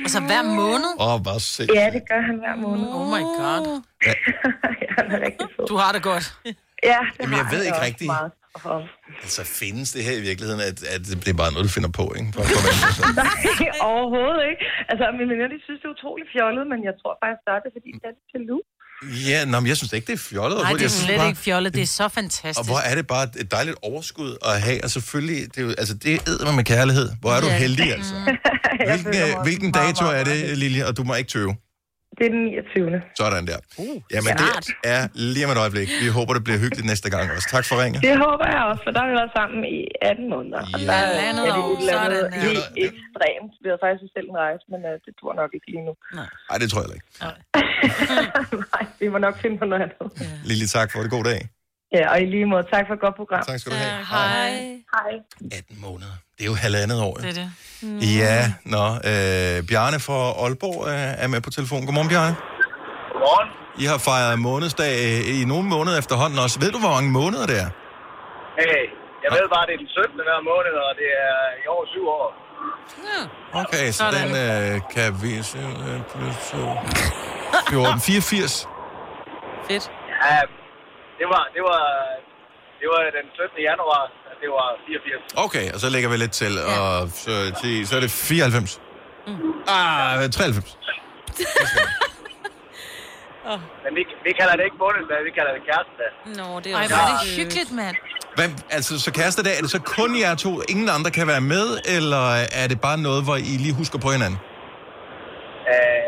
C: Altså hver måned?
A: Åh, oh, hvor sikkert.
R: Ja, det gør han hver måned.
C: Oh my god.
A: Ja.
C: du har det godt.
R: Ja, det
A: Jamen, jeg
R: har
A: ved
R: han
A: ikke
R: også
A: rigtigt.
R: meget for.
A: Altså, findes det her i virkeligheden, at, at det er bare noget, du finder på, ikke? For, for man, så.
R: Nej, overhovedet ikke. Altså, mine venner, de synes, det er utrolig fjollet, men jeg tror faktisk, det er det, fordi det er lidt jaloux.
A: Ja, nå, men jeg synes da ikke, det er fjollet.
C: Nej,
A: overhovedet.
C: det er
A: Jeg synes
C: slet
A: bare-
C: ikke fjollet. Det er så fantastisk.
A: Og hvor er det bare et dejligt overskud at have, og selvfølgelig, det er jo, altså det æder man med kærlighed. Hvor er du
R: Ja.
A: heldig, altså.
R: føler
A: Hvilken,
R: mig
A: øh,
R: også
A: hvilken
R: meget,
A: dato er det, Lilje, og du må ikke tøve?
R: Det er den 29.
A: Sådan der. Uh, Jamen, det er lige om et øjeblik. Vi håber, det bliver hyggeligt næste gang også. Tak for ringet.
R: Det håber jeg også, for der har vi været sammen i 18 måneder. Og der er,
C: Halvandet
R: er det
C: år,
R: et eller andet
C: sådan, ja.
R: helt ekstremt. Vi har faktisk selv en rejse, men uh, det tror jeg nok ikke lige nu.
A: Nej, det tror jeg ikke.
R: Nej, vi må nok finde på noget andet.
A: Lilje, tak for det. God dag.
R: Ja, og i lige måde, tak for et godt program.
A: Tak skal du have.
R: Hej. Hej.
A: 18 måneder. Det er jo halvandet år.
C: Det
A: jo. Mm.
C: er det.
A: Ja, nå. Øh, Bjarne fra Aalborg øh, er med på telefon. Godmorgen, Bjarne.
S: Godmorgen.
A: I har fejret månedsdag øh, i nogle måneder efterhånden også. Ved du, hvor mange måneder det er?
S: Hey, jeg ved bare, det er den 17. hver måned, og det er i år syv år.
A: Okay, så den øh, kan vi se øh, plus to. 14, 84.
S: Fedt. Ja, det var, det var, det var den 17. januar, at det var 84.
A: Okay, og så lægger vi lidt til, og så, 10, så er det 94. Ah, 93.
S: Men vi, vi kalder det ikke månedsdag, vi kalder det kærestedag.
B: Nå, det er
C: Ej,
B: også... øh,
C: hvor er det hyggeligt, mand.
A: Hvad, altså, så kærestedag, er det så kun jer to? Ingen andre kan være med, eller er det bare noget, hvor I lige husker på hinanden?
S: Øh,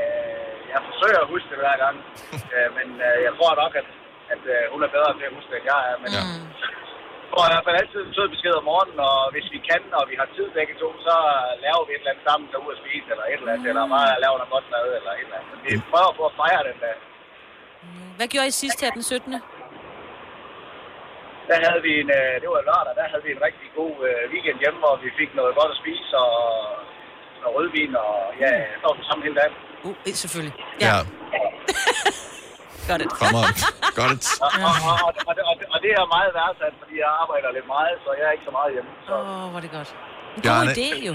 S: jeg forsøger at huske det hver gang, øh, men øh, jeg tror nok, at, at øh, hun er bedre til at huske, det, end jeg er. Men, mm. Jeg får i hvert fald altid en sød besked om morgenen, og hvis vi kan, og vi har tid begge to, så laver vi et eller andet sammen, tager ud og spise, eller et eller andet, eller bare laver noget godt mad, eller et eller andet. Vi prøver på at fejre den øh. dag.
B: Hvad gjorde I sidst her den 17.
S: Der havde vi en, øh, det var lørdag, der havde vi en rigtig god øh, weekend hjemme, hvor vi fik noget godt at spise, og noget rødvin, og ja, så var vi sammen hele dagen.
B: Uh, eh, selvfølgelig.
A: Ja.
B: Godt.
A: Kom on. Godt.
S: Og, og, og, og, og, og, og det er meget værdsat, fordi jeg arbejder lidt meget, så jeg er ikke så meget hjemme. Så.
B: Åh, oh, hvor er det godt. En god
A: Bjarne.
B: idé, jo.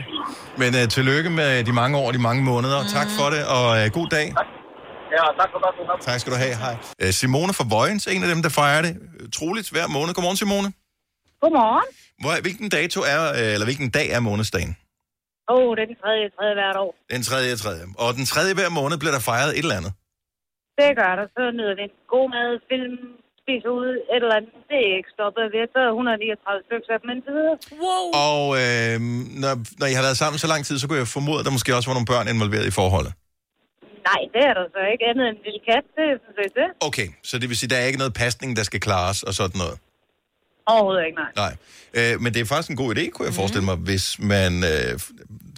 A: Men uh, tillykke med de mange år, de mange måneder. Mm. Tak for det, og uh, god dag.
S: Ja, tak for godt program.
A: Tak skal du have. Hej. Uh, Simone fra Vojens, en af dem, der fejrer det. øh, Troligt hver måned. Godmorgen, Simone.
T: Godmorgen.
A: Hvor, hvilken dato er, øh, eller hvilken dag er månedsdagen?
T: Åh, oh, det er den tredje, tredje hvert år.
A: Den tredje, tredje. Og den tredje hver måned bliver der fejret et eller andet.
T: Det gør der. Så nyder vi en god mad, film, spise ude, et eller andet. Det er ikke stoppet. Vi har taget 139 stykker af dem indtil videre. Wow.
A: Og øh, når, når I har været sammen så lang tid, så kunne jeg formode, at der måske også var nogle børn involveret i forholdet.
T: Nej, det er der så ikke andet end en lille kat. Det er sådan set det.
A: Okay, så det vil sige, at der er ikke noget pasning, der skal klares og sådan noget.
T: Overhovedet ikke, nej.
A: Nej. Øh, men det er faktisk en god idé,
B: Mhm.
A: kunne jeg forestille mig, hvis man, øh,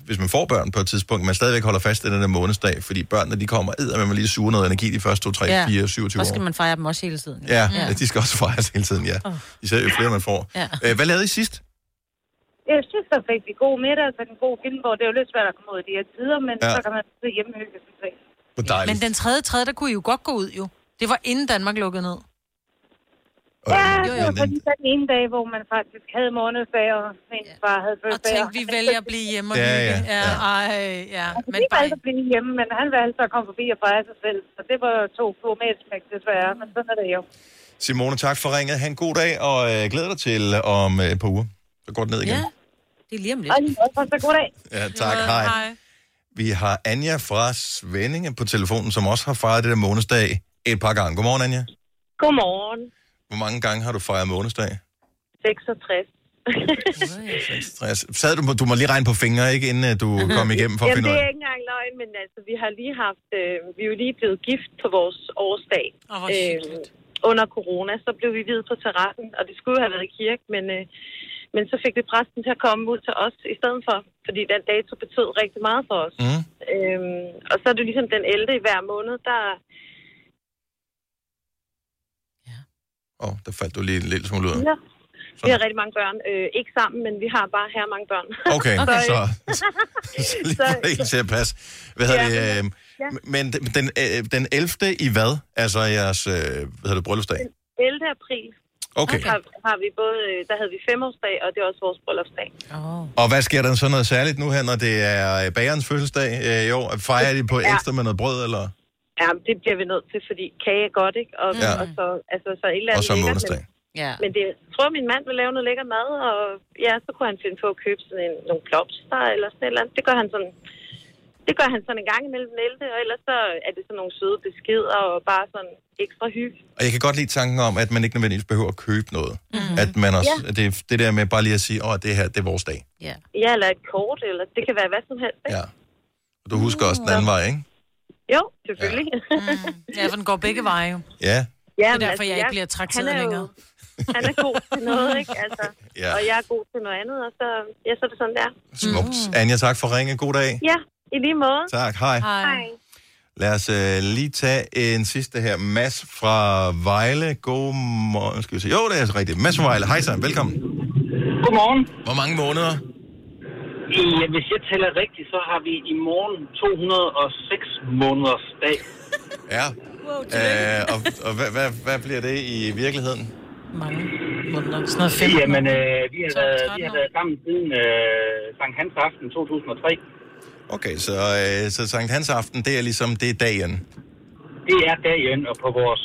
A: hvis man får børn på et tidspunkt, man stadigvæk holder fast i den der månedsdag, fordi børnene de kommer edder, man lige suger noget energi de første 2, 3, ja. 4, 27
B: Og
A: år.
B: så skal man fejre dem også hele tiden.
A: Ja, ja, de skal også fejres hele tiden, ja.
B: Åh.
A: Især jo flere man får.
B: Ja.
A: Øh, hvad lavede I sidst?
U: jeg synes, der fik vi god middag, altså en god film, hvor det er jo lidt svært at komme ud i de her tider, men
A: Ja.
U: ja. så kan man sidde hjemme og hygge sig selv.
A: Hvor dejligt.
C: Men den tredje, tredje, der kunne I jo godt gå ud, jo. Det var inden Danmark lukkede ned.
U: Ja,
C: jo,
U: det var
C: men-
U: fordi så den ene dag, hvor man faktisk havde månedsdag, og min far havde
C: Og
U: fødselsdag.
C: tænkte, vi vælger at blive hjemme og
U: Ja,
C: hygge.
U: ja,
C: ja.
U: ja.
C: Ej, ja.
U: Altså,
C: Men
U: vi
C: bare...
U: valgte at blive hjemme, men han valgte så at komme forbi og fejre sig selv. Så det var to gourmetsmæk, desværre, men sådan er det jo.
A: Simone, tak for ringet. Ha' en god dag, og øh, glæder dig til øh, om øh, et par uger. Så går det ned igen.
B: Ja,
A: Ja,
B: det er lige om lidt.
U: Og lige måde, så god dag.
A: ja tak. Hej. hej. Vi har Anja fra Svendinge på telefonen, som også har fejret det der månedsdag et par gange. Godmorgen, Anja.
T: Godmorgen.
A: Hvor mange gange har du fejret månedsdag?
T: 66.
A: 60. Sad du, du må lige regne på fingre, ikke, inden øh, du kom igennem for at
T: Jamen,
A: finde ud
T: det
A: af.
T: er ikke engang løgn, men altså, vi har lige haft, øh, vi er jo lige blevet gift på vores årsdag.
C: Oh,
T: hvor øh, under corona, så blev vi videt på terrassen, og det skulle jo have været i kirke, men, øh, men så fik vi præsten til at komme ud til os i stedet for, fordi den dato betød rigtig meget for os.
A: Mm.
T: Øhm, og så er det jo ligesom den 11. i hver måned, der...
A: Åh, oh, der faldt du lige en lille smule ud.
T: Ja. Vi har rigtig mange børn. Øh, ikke sammen, men vi har bare her mange børn.
A: Okay,
T: øh,
A: så- Lige for en til at passe. Hvad hedder det? Øh,
T: ja.
A: men den- den, øh, den 11. i hvad? Altså jeres, øh, hvad hedder det, bryllupsdag?
T: 11. april
A: Okay.
T: har, har vi både, øh, der havde vi femårsdag, og det er også vores bryllupsdag.
B: Oh.
A: Og hvad sker der så noget særligt nu her, når det er øh, bagerens fødselsdag øh, i år? Fejrer de på
T: Ja.
A: ekstra med noget brød, eller?
T: Ja, men det bliver vi nødt til, fordi kage er godt, ikke? Og,
A: Ja.
T: ja. og så, altså, så et eller
A: Og
T: andet
A: så
T: lækkert,
A: månedsdag.
T: Men,
B: ja.
T: men det, jeg tror, min mand vil lave noget lækker mad, og ja, så kunne han finde på at købe sådan en, nogle blomster eller sådan et eller andet. Det gør han sådan... Det gør han sådan en gang imellem den 11., og ellers så er det sådan nogle søde beskeder og bare sådan ekstra hygge.
A: Og jeg kan godt lide tanken om, at man ikke nødvendigvis behøver at købe noget. Mm-hmm. At man også, ja. det, det der med bare lige at sige, åh, det her, det er vores dag.
B: Ja.
T: ja, eller et kort, eller det kan være hvad som helst, ikke?
A: Ja. Og du husker også den anden vej, ikke?
T: Jo, selvfølgelig. Ja.
C: Mm. Ja, for den går begge veje jo.
A: Ja.
C: Ja, det er
T: men
C: derfor,
T: altså,
C: jeg ikke
T: jeg-
C: bliver trakteret
T: han er jo-
C: længere.
T: Han er god til noget, ikke? Altså,
A: Ja.
T: ja. Og jeg er god til noget andet, og så, ja, så er det sådan der.
A: Smukt. Anja, tak for ringe. God dag.
T: Ja, i lige måde.
A: Tak. Hej.
T: Hej.
A: Lad os øh, lige tage en sidste her. Mads fra Vejle. Godmorgen. Skal vi se. Jo, det er altså rigtigt. Mads fra Vejle. Hej så. Velkommen.
S: Godmorgen.
A: Hvor mange måneder?
S: Ja, hvis jeg tæller rigtigt, så har vi i morgen 206 måneders dag.
A: Ja. Øh, og og hvad, hvad, hvad bliver det i virkeligheden?
C: Mange måneder. Sådan noget fem.
S: Jamen, øh, vi, har været, vi har været sammen siden øh, Sankt Hans Aften 2003.
A: Okay, så, øh, så Sankt Hans Aften, det er ligesom, det er dagen.
S: Det er dagen, og på vores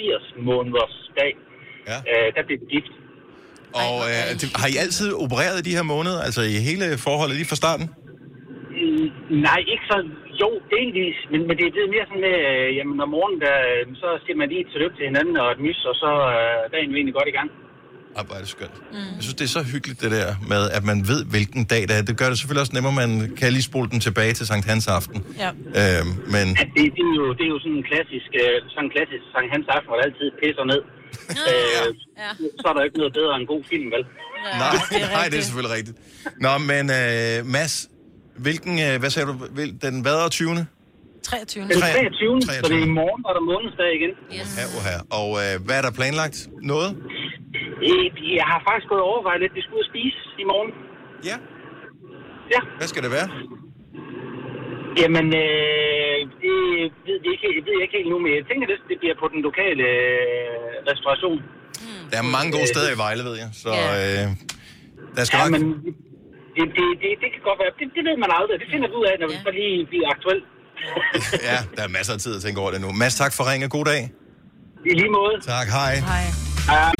S: øh, 80 måneders dag,
A: ja.
S: øh, der blev vi gift.
A: Og øh, det, har I altid opereret i de her måneder? Altså i hele forholdet lige fra starten?
S: Mm, Nej, ikke så. Jo, delvis, men, men det er blevet mere sådan med, øh, jamen om morgenen, der, øh, så siger man lige et tillykke til hinanden og et mys, og så øh, er dagen jo egentlig godt i gang.
A: Ej, hvor er det skønt. Mm. Jeg synes, det er så hyggeligt det der med, at man ved, hvilken dag det er. Det gør det selvfølgelig også nemmere, man kan lige spole den tilbage til Sankt Hans Aften.
C: Ja.
A: Øh, men
S: Ja, det, det, er jo, det er jo sådan en klassisk, øh, sådan en klassisk Sankt Hans Aften, hvor der altid pisser ned. øh, Så er der jo ikke noget bedre end en god film, vel?
A: nej, det er, nej, det er selvfølgelig rigtigt. Nå, men øh, Mads, hvilken, øh, hvad sagde du, Hvil- den hvad er 20.
C: 23.
S: Den 23. Så det er i
A: 23..
S: morgen, og der er månedsdag igen.
A: Yes. Ja, oha. Og øh, hvad er der planlagt? Noget?
S: Jeg har faktisk gået og overvejet lidt, vi skulle ud og spise i morgen.
A: Ja.
S: Ja.
A: Hvad skal det være?
S: Jamen, øh, det ved, vi ikke, helt- det ved jeg ikke helt nu, men jeg tænker, det, det bliver på den lokale øh, restauration.
A: Der er mange gode steder i Vejle, ved jeg. Så øh, der skal
S: Ja,
A: nok...
S: men det, det, det, det kan godt være. Det, det ved man aldrig. Det finder vi ud af, når vi så lige bliver aktuelt.
A: ja, der er masser af tid at tænke over det nu. Mads, tak for ringen. God dag.
S: I lige måde.
A: Tak, hej.
C: Hej.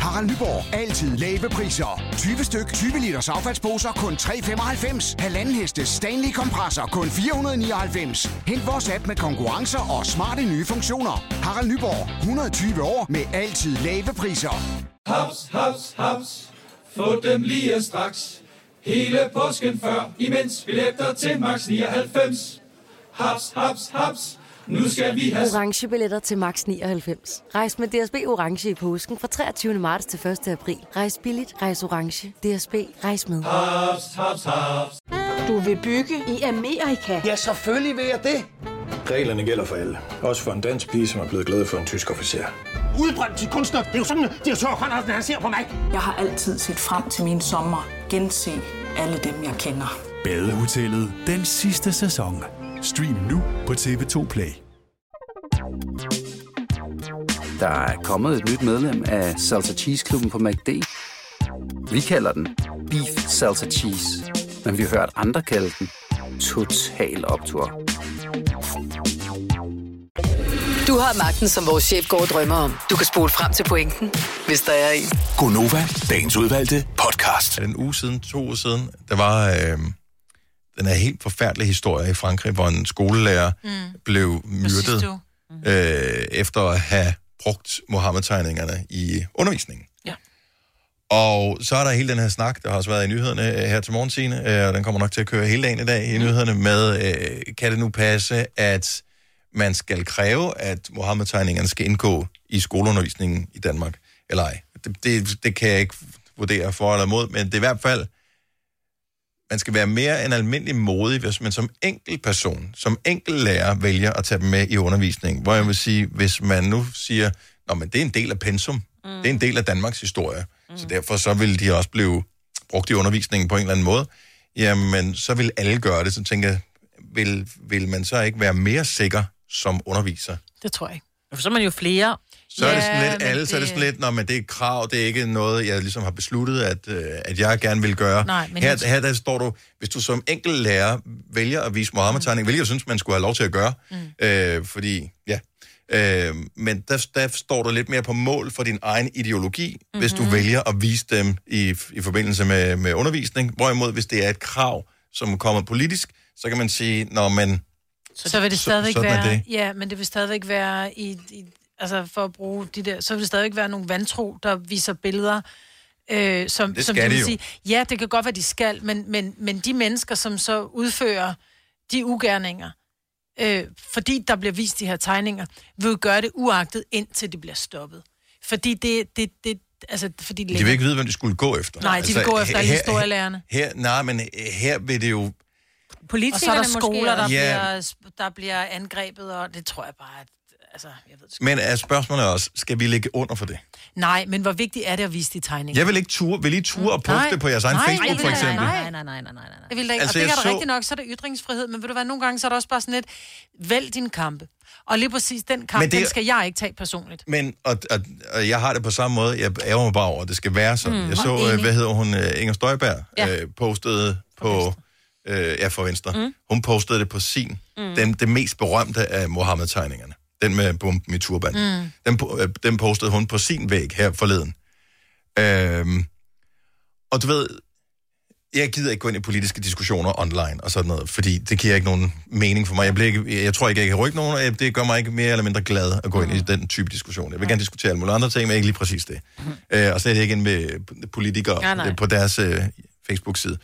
V: Harald Nyborg. Altid lave priser. 20 styk, 20 liters affaldsposer kun 3,95. Halvanden heste Stanley kompresser kun 499. Hent vores app med konkurrencer og smarte nye funktioner. Harald Nyborg. 120 år med altid lave priser.
W: Haps, haps, haps. Få dem lige straks. Hele påsken før, imens vi læfter til max 99. Haps, haps, haps. Nu skal vi have...
X: orange billetter til max 99. Rejs med DSB orange i påsken fra 23. marts til 1. april. Rejs billigt, rejs orange. DSB rejs med.
V: Hops, hops, hops.
M: Du vil bygge i Amerika? Ja, selvfølgelig vil jeg det.
N: Reglerne gælder for alle. Også for en dansk pige, som er blevet glad for en tysk officer.
M: Udbrændt til kunstner. Det er jo sådan, at de har tørt, han ser på mig. Jeg har altid set frem til min sommer.
O: Gense alle dem, jeg kender.
P: Badehotellet den sidste sæson. Stream nu på TV2 Play.
E: Der er kommet et nyt medlem af Salsa Cheese Klubben på MACD. Vi kalder den Beef Salsa Cheese, men vi har hørt andre kalde den Total Optor.
Q: Du har magten, som vores chef går og drømmer om. Du kan spole frem til pointen, hvis der er en.
F: Gonova, dagens udvalgte podcast.
A: Er det en uge siden, to uger siden, der var øh, den her helt forfærdelige historie i Frankrig, hvor en skolelærer mm. blev myrdet øh, efter at have brugt Mohammed-tegningerne i undervisningen.
C: Ja.
A: Og så er der hele den her snak, der har også været i nyhederne øh, her til morgen, Signe, øh, og den kommer nok til at køre hele dagen i dag i nyhederne, med øh, kan det nu passe, at man skal kræve, at Mohammed-tegningerne skal indgå i skoleundervisningen i Danmark, eller ej. Det, det, det kan jeg ikke vurdere for eller imod, men det er i hvert fald, man skal være mere end almindelig modig, hvis man som enkelt person, som enkelt lærer, vælger at tage dem med i undervisningen. Hvor jeg vil sige, hvis man nu siger, Nå, men det er en del af pensum, mm. det er en del af Danmarks historie, mm. så derfor så vil de også blive brugt i undervisningen på en eller anden måde, jamen så vil alle gøre det, så tænker jeg, vil, vil man så ikke være mere sikker som underviser?
C: Det tror jeg ikke.
B: For så er man jo flere.
A: Så er det sådan lidt, alle, så er det sådan lidt, når men det er et krav, det er ikke noget, jeg ligesom har besluttet, at, øh, at jeg gerne vil gøre.
C: Nej, men
A: her,
C: jeg-
A: her der står du, hvis du som enkelt lærer vælger at vise Mohammed-tegning, mm. hvilket jeg synes, man skulle have lov til at gøre, mm. øh, fordi, ja. Øh, men der, der står du lidt mere på mål for din egen ideologi, mm-hmm. hvis du vælger at vise dem i, i forbindelse med, med undervisning. Hvorimod, hvis det er et krav, som kommer politisk, så kan man sige, når man...
C: Så, så vil det stadigvæk
A: sådan er
C: være...
A: det.
C: Ja, men det vil stadigvæk være i, i... Altså, for at bruge de der... Så vil det stadigvæk være nogle vantro, der viser billeder, øh, som,
G: Det
C: som
G: skal
C: vil
G: de jo.
C: Ja, det kan godt være, de skal, men, men, men de mennesker, som så udfører de ugerninger, øh, fordi der bliver vist de her tegninger, vil jo gøre det uagtet, indtil det bliver stoppet. Fordi det... det, det altså, fordi det
A: De vil ikke vide, hvem de skulle gå efter. Altså,
C: Nej, de vil gå efter alle
A: her-
C: historielærerne.
A: Her, nej, men øh, her vil det jo...
C: Og så er der
B: Politikerne måske
C: skoler, der,
A: også. Ja.
C: bliver, der bliver angrebet, og det tror jeg bare, at, altså, jeg ved,
A: Men er spørgsmålet også, skal vi ligge under for det?
C: Nej, men hvor vigtigt er det at vise de tegninger?
A: Jeg vil ikke ture, vil I ture at poste
C: Nej.
A: det på jeres egen
C: Nej,
A: Facebook,
C: nej,
A: for
C: nej,
A: eksempel?
C: nej,
B: Nej, nej, nej, nej, nej. nej.
C: Det vil jeg ikke.
A: Altså,
C: Altså, og det
A: jeg
C: er der
A: så-
C: så... rigtigt nok, så er der ytringsfrihed, men ved du hvad, nogle gange så er der også bare sådan lidt, vælg din kampe. Og lige præcis den kamp,
A: Men
C: det...
A: det-
C: den skal jeg ikke tage personligt.
A: Men, og, og, og jeg har det på samme måde, jeg ærger mig bare over, at det skal være sådan.
C: Mm,
A: Mm, jeg
C: meget
A: så, øh,
C: enig.
A: hvad hedder hun, øh, Inger Støjberg,
C: Ja.
A: ja. øh, postede på, øh, ja, for Venstre.
C: Mm.
A: Mm. Hun postede det på sin,
C: Mm.
A: mm. den, det mest berømte af Mohammed-tegningerne. Den med bomben i turban.
C: Mm.
A: Mm. Den, po- øh, den postede hun på sin væg her forleden. Øhm, og du ved, jeg gider ikke gå ind i politiske diskussioner online og sådan noget, fordi det giver ikke nogen mening for mig. Jeg, bliver ikke, jeg tror ikke, jeg kan rykke nogen, og jeg- det gør mig ikke mere eller mindre glad at gå ind i den type diskussion. Jeg vil gerne diskutere alle mulige andre ting, men ikke lige præcis det. Øh, og slet ikke ind med politikere
H: Nej,
A: ja,
H: nej.
A: på deres øh, Facebook-side.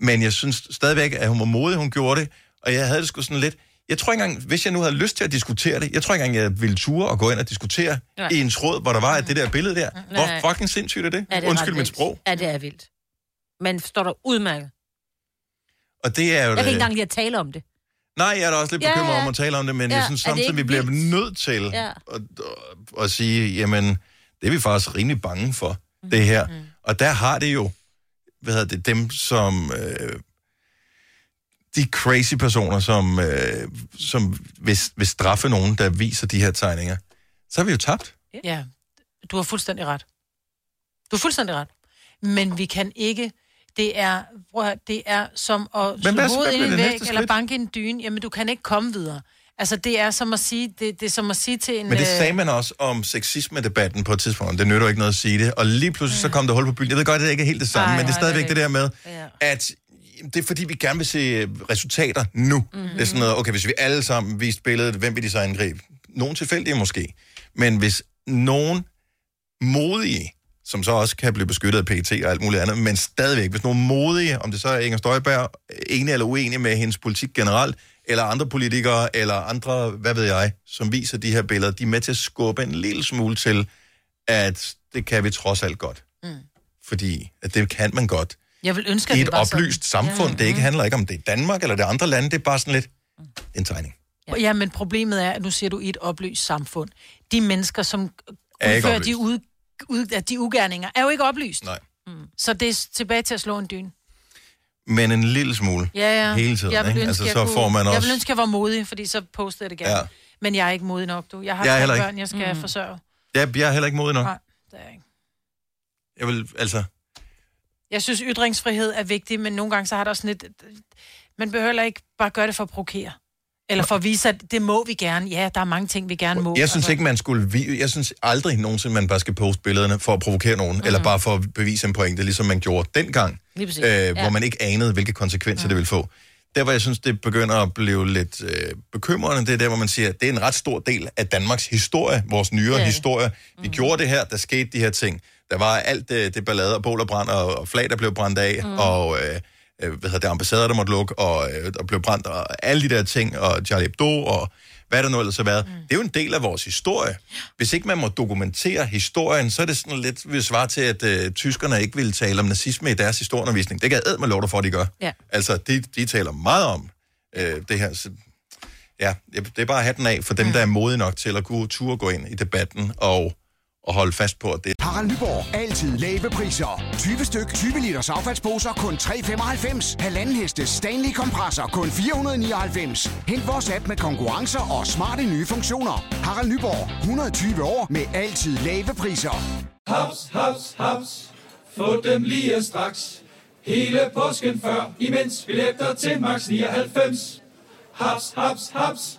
A: Men jeg synes stadigvæk, at hun var modig, hun gjorde det, og jeg havde det sgu sådan lidt... Jeg tror ikke engang, hvis jeg nu havde lyst til at diskutere det, jeg tror ikke engang, jeg ville ture og gå ind og diskutere
B: Nej.
A: nej. i en tråd, hvor der var det der billede der.
B: Nej.
A: Hvor fucking sindssygt er det?
B: Ja, det er
A: Undskyld
B: ret
A: mit
B: vildt.
A: sprog.
B: Ja, det er vildt. Man står der udmærket.
A: Og det er jo
B: Jeg kan
A: det-
B: ikke engang lide at tale om det.
A: Nej, jeg er da også lidt
B: Ja,
A: bekymret
B: ja.
A: om at tale om det, men
B: Ja,
A: ja, jeg
B: er det
A: synes samtidig,
B: ikke
A: vi bliver
B: vildt?
A: nødt til
B: Ja.
A: ja. at, at, at sige, jamen, det er vi faktisk rimelig bange for,
C: Mhm.
A: mm. det her. Mm. Og der har det jo, hvad hedder det, dem som, øh, de crazy personer, som, øh, som vil, vil straffe nogen, der viser de her tegninger, så har vi jo tabt.
C: Ja, du har fuldstændig ret. Du har fuldstændig ret. Men vi kan ikke... Det er, prøv at, høre, det er som at slå
G: hvad- hvad
C: hovedet ind i en
G: bliver det
C: væg
G: næste
C: eller
G: skridt?
C: banke i en dyne. Jamen, du kan ikke komme videre. Altså, det er som at sige, det, det er som at sige til en...
A: Men det
C: øh,
A: sagde man også om sexisme-debatten på et tidspunkt. Det nytter jo ikke noget at sige det. Og lige pludselig
C: Mm.
A: så kom der hul på byen. Jeg ved godt, at det ikke er helt det samme,
C: Ej,
A: Ej, men det er
C: nej, det er
A: stadigvæk det,
C: det
A: der med, at det er fordi, vi gerne vil se øh, resultater nu.
C: Mhm.
A: Mm-hmm. Det er sådan noget, okay, hvis vi alle sammen viste billedet, hvem vil de så angribe? Nogle tilfældige måske. Men hvis nogen modige, som så også kan blive beskyttet af PET og alt muligt andet, men stadigvæk, hvis nogen modige, om det så er Inger Støjberg, enig eller uenig med hendes politik generelt, eller andre politikere, eller andre, hvad ved jeg, som viser de her billeder, de er med til at skubbe en lille smule til, at det kan vi trods alt godt. Mm. Fordi at det kan man godt.
C: Jeg vil ønske, at
A: I
C: det
A: et
C: var
A: oplyst
C: sådan.
A: samfund. Det ikke handler ikke om, det er Danmark eller det er andre lande. Det er bare sådan lidt en tegning.
C: Ja. ja, men problemet er, at nu siger du i et oplyst samfund. De mennesker, som
A: Er ikke
C: udfører de,
A: oplyst.
C: ud, ud, at de ugerninger, er jo ikke oplyst.
A: Nej.
C: Så det er s- tilbage til at slå en dyne.
A: men en lille smule.
C: Ja, ja.
A: Hele tiden,
C: jeg vil
A: ikke?
C: Ønske,
A: Altså,
C: jeg
A: så
C: kunne,
A: får man
C: Jeg
A: også-
C: vil ønske, jeg var modig, fordi så postede jeg det gerne.
A: Ja.
C: Ja. Men jeg er ikke modig nok, du. Jeg har
A: Jeg er
C: jeg
A: heller ikke.
C: børn, jeg skal mm. forsørge.
A: Jeg, jeg er heller ikke modig nok.
C: Nej.
A: Jeg vil, altså,
C: Jeg synes, ytringsfrihed er vigtig, men nogle gange så har det også sådan lidt... Man behøver heller ikke bare gøre det for at provokere. Eller for at vise, at det må vi gerne. Ja, der er mange ting, vi gerne må.
A: jeg
B: altså.
A: synes ikke, man skulle... vi- Jeg synes aldrig nogensinde, man bare skal poste billederne for at provokere nogen, mm. eller bare for at bevise en pointe, ligesom man gjorde dengang,
B: Mhm. Lige præcis.
A: øh,
B: Ja. Mhm.
A: hvor man ikke anede, hvilke konsekvenser mm. det ville få. Der, hvor jeg synes, det begynder at blive lidt øh, bekymrende, det er der, hvor man siger, at det er en ret stor del af Danmarks historie, vores nyere
F: Det er det.
A: yeah. historie. Vi
B: Mhm.
A: mm. gjorde det her, der skete de her ting. Der var alt øh, det, det ballade og bål og brand, og, og flag, der blev brændt af,
B: Mhm.
A: mm. og... Øh, øh, hvad hedder det, ambassader, der måtte lukke, og øh, der blev brændt, og alle de der ting, og Charlie Hebdo, og hvad der nu ellers har været. Mm. Det er jo en del af vores historie. Hvis ikke man må dokumentere historien, så er det sådan lidt ved svar til, at øh, tyskerne ikke ville tale om nazisme i deres historieundervisning. Det kan jeg æd med lov dig for, at de gør.
B: Ja.
A: Altså, de, de taler meget om øh, det her. Så, ja, det er bare hatten af for dem, der
V: Mm.
A: er modige nok til at kunne turde gå ind i debatten og, og holde fast på, at det
V: Harald Nyborg. Altid lave priser. 20 styk, 20 liters affaldsposer kun 3,95. Halvanden heste Stanley kompresser kun 499. Hent vores app med konkurrencer og smarte nye funktioner. Harald Nyborg. 120 år med altid lave priser.
W: Haps, haps, haps. Få dem lige straks. Hele påsken før, imens billetter til max 99. Haps, haps, haps.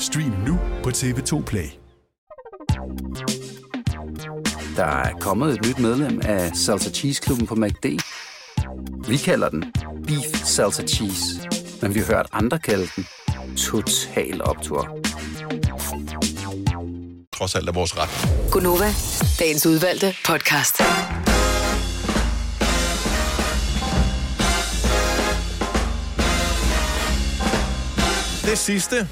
P: Stream nu på TV2 Play.
E: Der er kommet et nyt medlem af Salsa Cheese Klubben på MACD. Vi kalder den Beef Salsa Cheese, men vi har hørt andre kalde den Total Optor.
A: trods alt er vores ret.
Q: Gunova, dagens udvalgte podcast.
A: Det sidste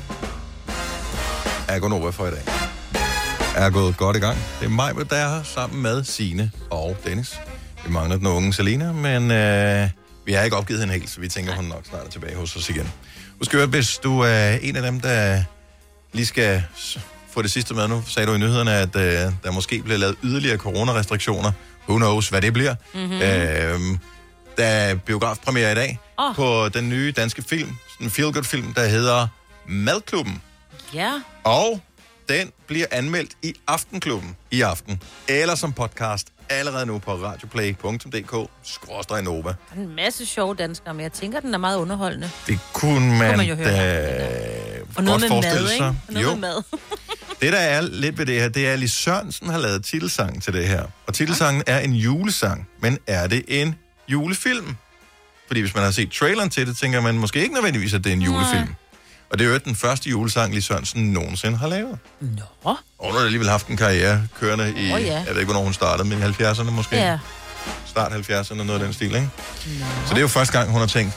A: er Gonova for i dag. Er gået godt i gang. Det er mig, der er her sammen med Sine og Dennis. Vi mangler den unge Selina, men øh, vi har ikke opgivet hende helt, så vi tænker, hun nok snart er tilbage hos os igen. Husk at høre, hvis du er en af dem, der lige skal s- få det sidste med nu, sagde du i nyhederne, at øh, der måske bliver lavet yderligere coronarestriktioner. Who knows, hvad det bliver.
F: Mhm.
A: Øh, der er biografpremiere i dag
B: Åh.
A: oh. på den nye danske film, sådan en feel-good-film, der hedder Madklubben.
B: Ja.
A: Og den bliver anmeldt i Aftenklubben i aften, eller som podcast allerede nu på radioplay.dk-nova.
B: Der er en masse sjove danskere, men jeg tænker, den er meget underholdende.
A: Det kunne man,
B: man jo høre,
A: da
B: Og noget med
A: godt forestille
B: mad, ikke?
A: sig.
B: Og noget
A: jo.
B: med mad.
A: Det, der er lidt ved det her, det er, at Lis Sørensen har lavet titelsangen til det her. Og titelsangen er en julesang, men er det en julefilm? Fordi hvis man har set traileren til det, tænker man måske ikke nødvendigvis, at det er en julefilm. Og det er jo den første julesang, Lis Sørensen nogensinde har lavet.
B: Nå.
A: Og hun har alligevel haft en karriere kørende i,
B: Åh,
A: oh,
B: ja.
A: ja. jeg ved ikke, hvornår hun startede, men i 70'erne måske.
B: Ja.
A: Start 70'erne, noget af den stil, ikke? Så det er jo første gang, hun har tænkt,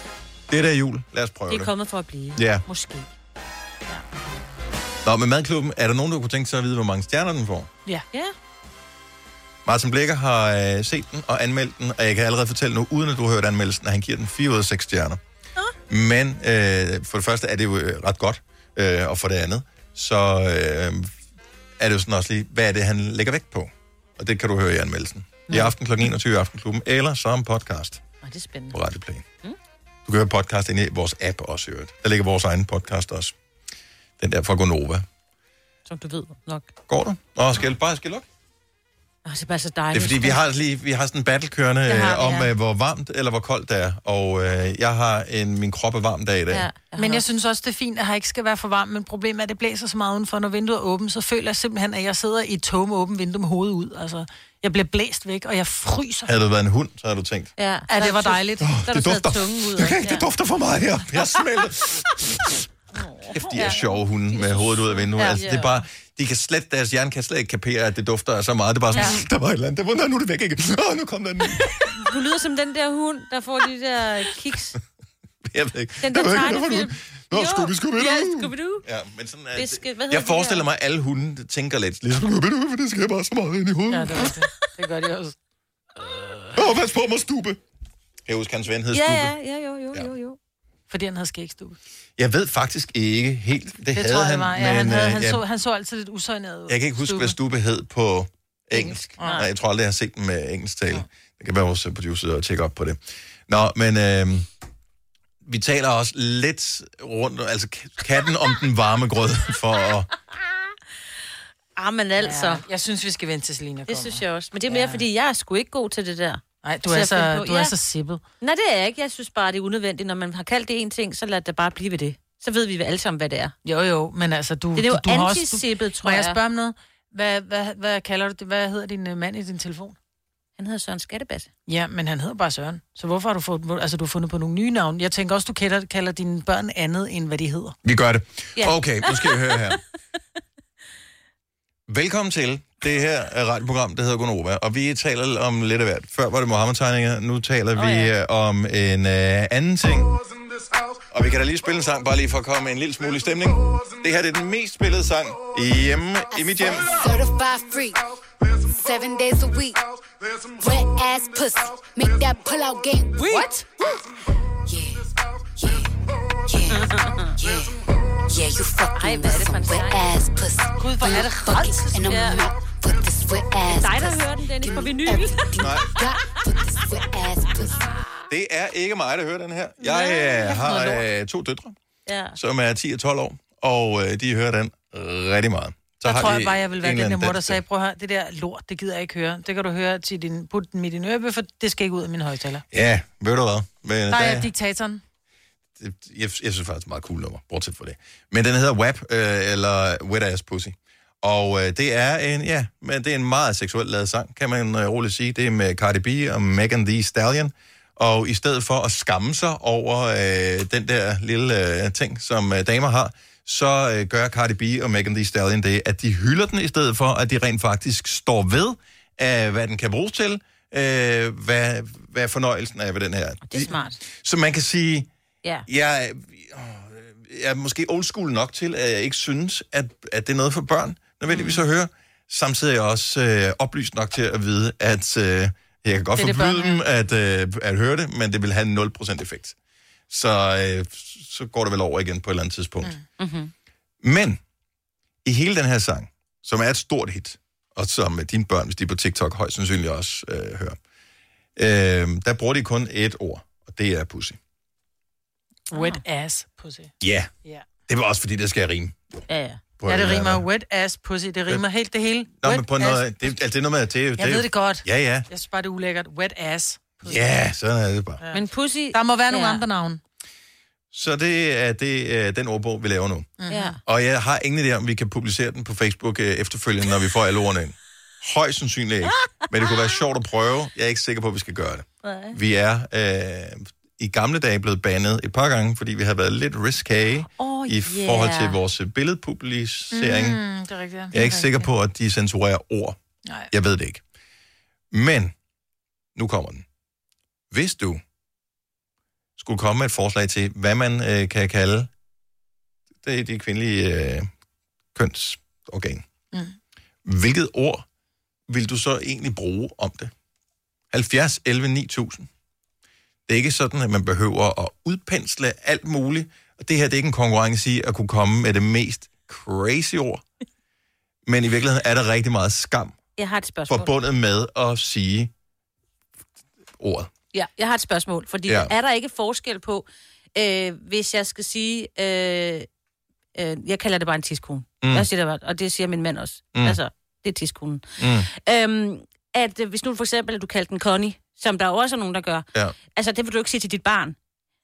A: det der er jul, lad os prøve
B: Det er kommet for at blive.
A: Ja.
B: Måske.
A: Nå, med madklubben, er der nogen, der kunne tænke sig at vide, hvor mange stjerner den får?
C: Ja.
B: Ja.
A: Martin Blikker har øh, set den og anmeldt den, og jeg kan allerede fortælle nu, uden at du har hørt anmeldelsen, at han giver den 4 ud af 6 stjerner. Men øh, for det første er det jo øh, ret godt, øh, og for det andet, så øh, er det jo sådan også lige, hvad er det, han lægger vægt på? Og det kan du høre i anmeldelsen. I aften kl. 21 i Aftenklubben, eller som podcast
B: Nå, det er spændende.
A: på Radio Play. Du kan høre podcast inde i vores app også, i øvrigt. Der ligger vores egen podcast også. Den der fra Gonova.
B: Som du ved nok.
A: Går du? Nå, skal jeg bare skal jeg lukke?
B: Nå, det er bare så dejligt.
A: Det er fordi, vi har, lige, vi har sådan en battle kørende
B: Det har
A: øh,
B: vi,
A: om,
B: ja.
A: øh, hvor varmt eller hvor koldt det er. Og øh, jeg har en, min krop er varm dag i dag. Ja.
C: Men jeg synes også, det er fint, at her ikke skal være for varmt, men problemet er, at det blæser så meget udenfor. Når vinduet er åbent, så føler jeg simpelthen, at jeg sidder i et tog med åbent vindue med hovedet ud. Altså, jeg bliver blæst væk, og jeg fryser.
A: Havde du været en hund, så havde du tænkt,
B: Ja,
C: ja det var dejligt.
A: Åh, det dufter.
B: ud.
A: Okay, det dufter for meget her. Jeg smelter. Kæft, de er sjove hunde med hovedet ud af vinduet.
F: Ja.
A: Altså, det er bare, de kan slet, deres hjerne kan slet ikke kapere, at det dufter af så meget. Det er bare sådan,
B: Ja.
A: ja. der var et eller andet. Der var, "Nå, nu er det væk igen. Åh, nu kom der en ny.
B: Du lyder som den der hund, der får de der kiks.
A: Jeg ved ikke.
B: Den der
A: Jeg ved ikke, hvorfor
B: tegnefilm.
A: du- Nå,
B: Jo.
A: Scooby, Scooby,
B: Ja,
A: Doo.
B: Scooby-Doo.
A: Ja, men sådan er
B: Det skal- hvad
A: det.
B: hedder
A: Jeg
B: de der?
A: forestiller mig, at alle hunde tænker lidt. Ligesom, Scooby, Doo, for det skal bare så meget ind i hovedet.
C: Ja, det er rigtigt. Det gør de også.
A: Åh, pas på mig, stube. Jeg husker, hans ven hed
C: Ja,
A: Stube.
C: ja,
B: ja, jo, jo,
A: jo,
B: jo.
C: Fordi han havde skægstube. Det,
A: Jeg ved faktisk ikke helt. Det,
C: det
A: havde
C: tror jeg,
A: han,
C: det var. Ja, han, havde,
A: øh,
C: han,
A: jeg,
C: så, han så altid lidt usøgnet ud.
A: jeg kan ikke huske, hvad stube hed på engelsk.
C: Nej.
A: Nej. jeg tror aldrig, jeg har set den med engelsk tale. Det kan være vores øh, producer og tjekke op på det. Nå, men øh, vi taler også lidt rundt, altså k- katten om den varme grød, for at...
B: Ah, men altså.
C: Ja, jeg synes, vi skal vente til Selina
B: Det synes jeg også. Men det er mere, ja. fordi jeg er sgu ikke god til det der.
C: Nej, du
B: Til
C: er
B: at
C: så,
B: finde på-
C: du er så sippet.
B: Nej, det er jeg ikke. Jeg synes bare, det er unødvendigt. Når man har kaldt det en ting, så lad det bare blive ved det. Så ved vi alle sammen, hvad det er.
C: Jo, jo, men altså, du...
B: Det er jo
C: du, du har også- du-
B: antisippet, tror
C: Må jeg
B: jeg.
C: spørge om noget? Hvad, hvad, hvad kalder du det? Hvad hedder din øh, mand i din telefon?
B: Han hedder Søren Skattebat.
C: Ja, men han hedder bare Søren. Så hvorfor har du, fået, hvor- altså, du har fundet på nogle nye navne? Jeg tænker også, du kalder, kalder dine børn andet, end hvad de hedder.
A: Vi gør det.
C: Ja.
A: Okay, nu skal jeg høre her. Velkommen til det her er radioprogram, der hedder Gunova, og vi taler om lidt af hvert. Før var det Mohammed-tegninger, nu taler oh, vi ja. om en øh, anden ting. Og vi kan da lige spille en sang, bare lige for at komme en lille smule i stemning. Det her det er den mest spillede sang hjemme i mit hjem.
G: Certified free. Seven days a week. Wet ass pussy. Make that pull out game. What? Yeah, yeah, yeah, yeah. Yeah, you fucking with some wet ass pussy. Gud, hvor er det rart. And I'm yeah. with this wet ass
B: er dig, der
G: pussy.
B: hører den, Dennis, på
G: Give
B: vinyl.
G: me everything
A: Nej.
G: you got with this wet ass pussy.
A: Det er ikke mig, der hører den her. Jeg øh, har øh, to døtre,
B: Ja.
A: som er 10 og 12 år, og øh, de hører den rigtig meget. Så
C: Så
A: har
C: der tror
A: de
C: jeg bare, jeg vil være
A: en
C: den
A: eller
C: der
A: anden
C: mor, der
A: dansk
C: sagde, prøv at høre, det der lort, det gider jeg ikke høre. Det kan du høre til din, put den midt i din ørebe, for det skal ikke ud af min højtaler.
A: Ja, ved du hvad? Men,
C: Der er jeg diktatoren.
A: jeg, Øh, jeg synes faktisk, det er et meget cool nummer, bortset fra det. Men den hedder WAP, øh, eller Wet Ass Pussy. Og øh, det er en, ja, men det er en meget seksuelt lavet sang, kan man øh, roligt sige. Det er med Cardi B og Megan Thee Stallion. Og i stedet for at skamme sig over øh, den der lille øh, ting, som øh, damer har, så øh, gør Cardi B og Megan Thee Stallion det, at de hylder den, i stedet for at de rent faktisk står ved, øh, hvad den kan bruges til, øh, hvad, hvad fornøjelsen er ved den her.
B: Det er smart.
A: Så man kan sige,
B: Ja.
A: jeg, åh, jeg er måske old school nok til, at jeg ikke synes, at, at det er noget for børn, nødvendigvis
F: Mm.
A: at høre. Samtidig er jeg også øh, oplyst nok til at vide, at øh, jeg kan godt
F: Det er det,
A: forbyde
F: børn
A: dem at, øh, at høre det, men det vil have 0% effekt. Så, øh, så går det vel over igen på et eller andet tidspunkt.
H: Mm-hmm.
A: Mm. Men i hele den her sang, som er et stort hit, og som øh, dine børn, hvis de er på TikTok, højst sandsynligt også øh, hører, øh, der bruger de kun et ord, og det er pussy.
B: Ah.
C: Wet ass pussy.
A: Ja.
C: Ja.
A: Det var også fordi, det skal rime.
B: Ja, ja.
A: På
C: ja,
A: en
C: det
A: eller
C: rimer wet ass pussy. Det rimer helt det hele.
A: Nå,
C: wet
A: men på noget, det, altså, det er noget med, at det,
C: Jeg ved det godt.
A: Ja, ja.
C: Jeg synes bare, det er ulækkert. Wet ass.
A: Ja, sådan er det bare.
C: Ja.
B: Men pussy...
C: Der må være nogle
B: ja.
C: andre navne.
A: Så det er det, er den ordbog, vi laver nu.
C: Mm.
B: Ja.
A: Og jeg har ingen idé om, vi kan publicere den på Facebook øh, efterfølgende, når vi får alle ordene ind. Højst sandsynligt ikke. Men det kunne være sjovt at prøve. Jeg er ikke sikker på, at vi skal gøre det. Vi er øh, i gamle dage blevet bandet et par gange, fordi vi har været lidt risky
C: Oh,
A: i forhold til vores øh, billedpublicering. Mm.
C: Mm, det er rigtigt.
A: Jeg er ikke sikker på, at de censurerer ord.
C: Nej.
A: Jeg ved det ikke. Men, nu kommer den. Hvis du skulle komme med et forslag til, hvad man øh, kan kalde det, de kvindelige øh, kønsorgan,
C: Mm.
A: hvilket ord vil du så egentlig bruge om det? 70, 11, 9000. Det er ikke sådan, at man behøver at udpensle alt muligt. Og det her, det er ikke en konkurrence i at kunne komme med det mest crazy ord. Men i virkeligheden er der rigtig meget skam
B: Jeg har et spørgsmål.
A: forbundet med at sige ordet.
B: Ja, jeg har et spørgsmål, fordi
A: Ja.
B: ja. er der ikke forskel på, øh, hvis jeg skal sige, øh, øh, jeg kalder det bare en tiskone,
I: Mm.
B: mm. jeg siger det bare, og det siger min mand også,
I: Mm.
B: mm. altså, det er tiskonen.
I: Mm.
B: Øhm, at øh, hvis nu for eksempel, at du kalder den Connie, som der jo også er nogen, der gør,
A: Ja.
B: altså det vil du ikke sige til dit barn.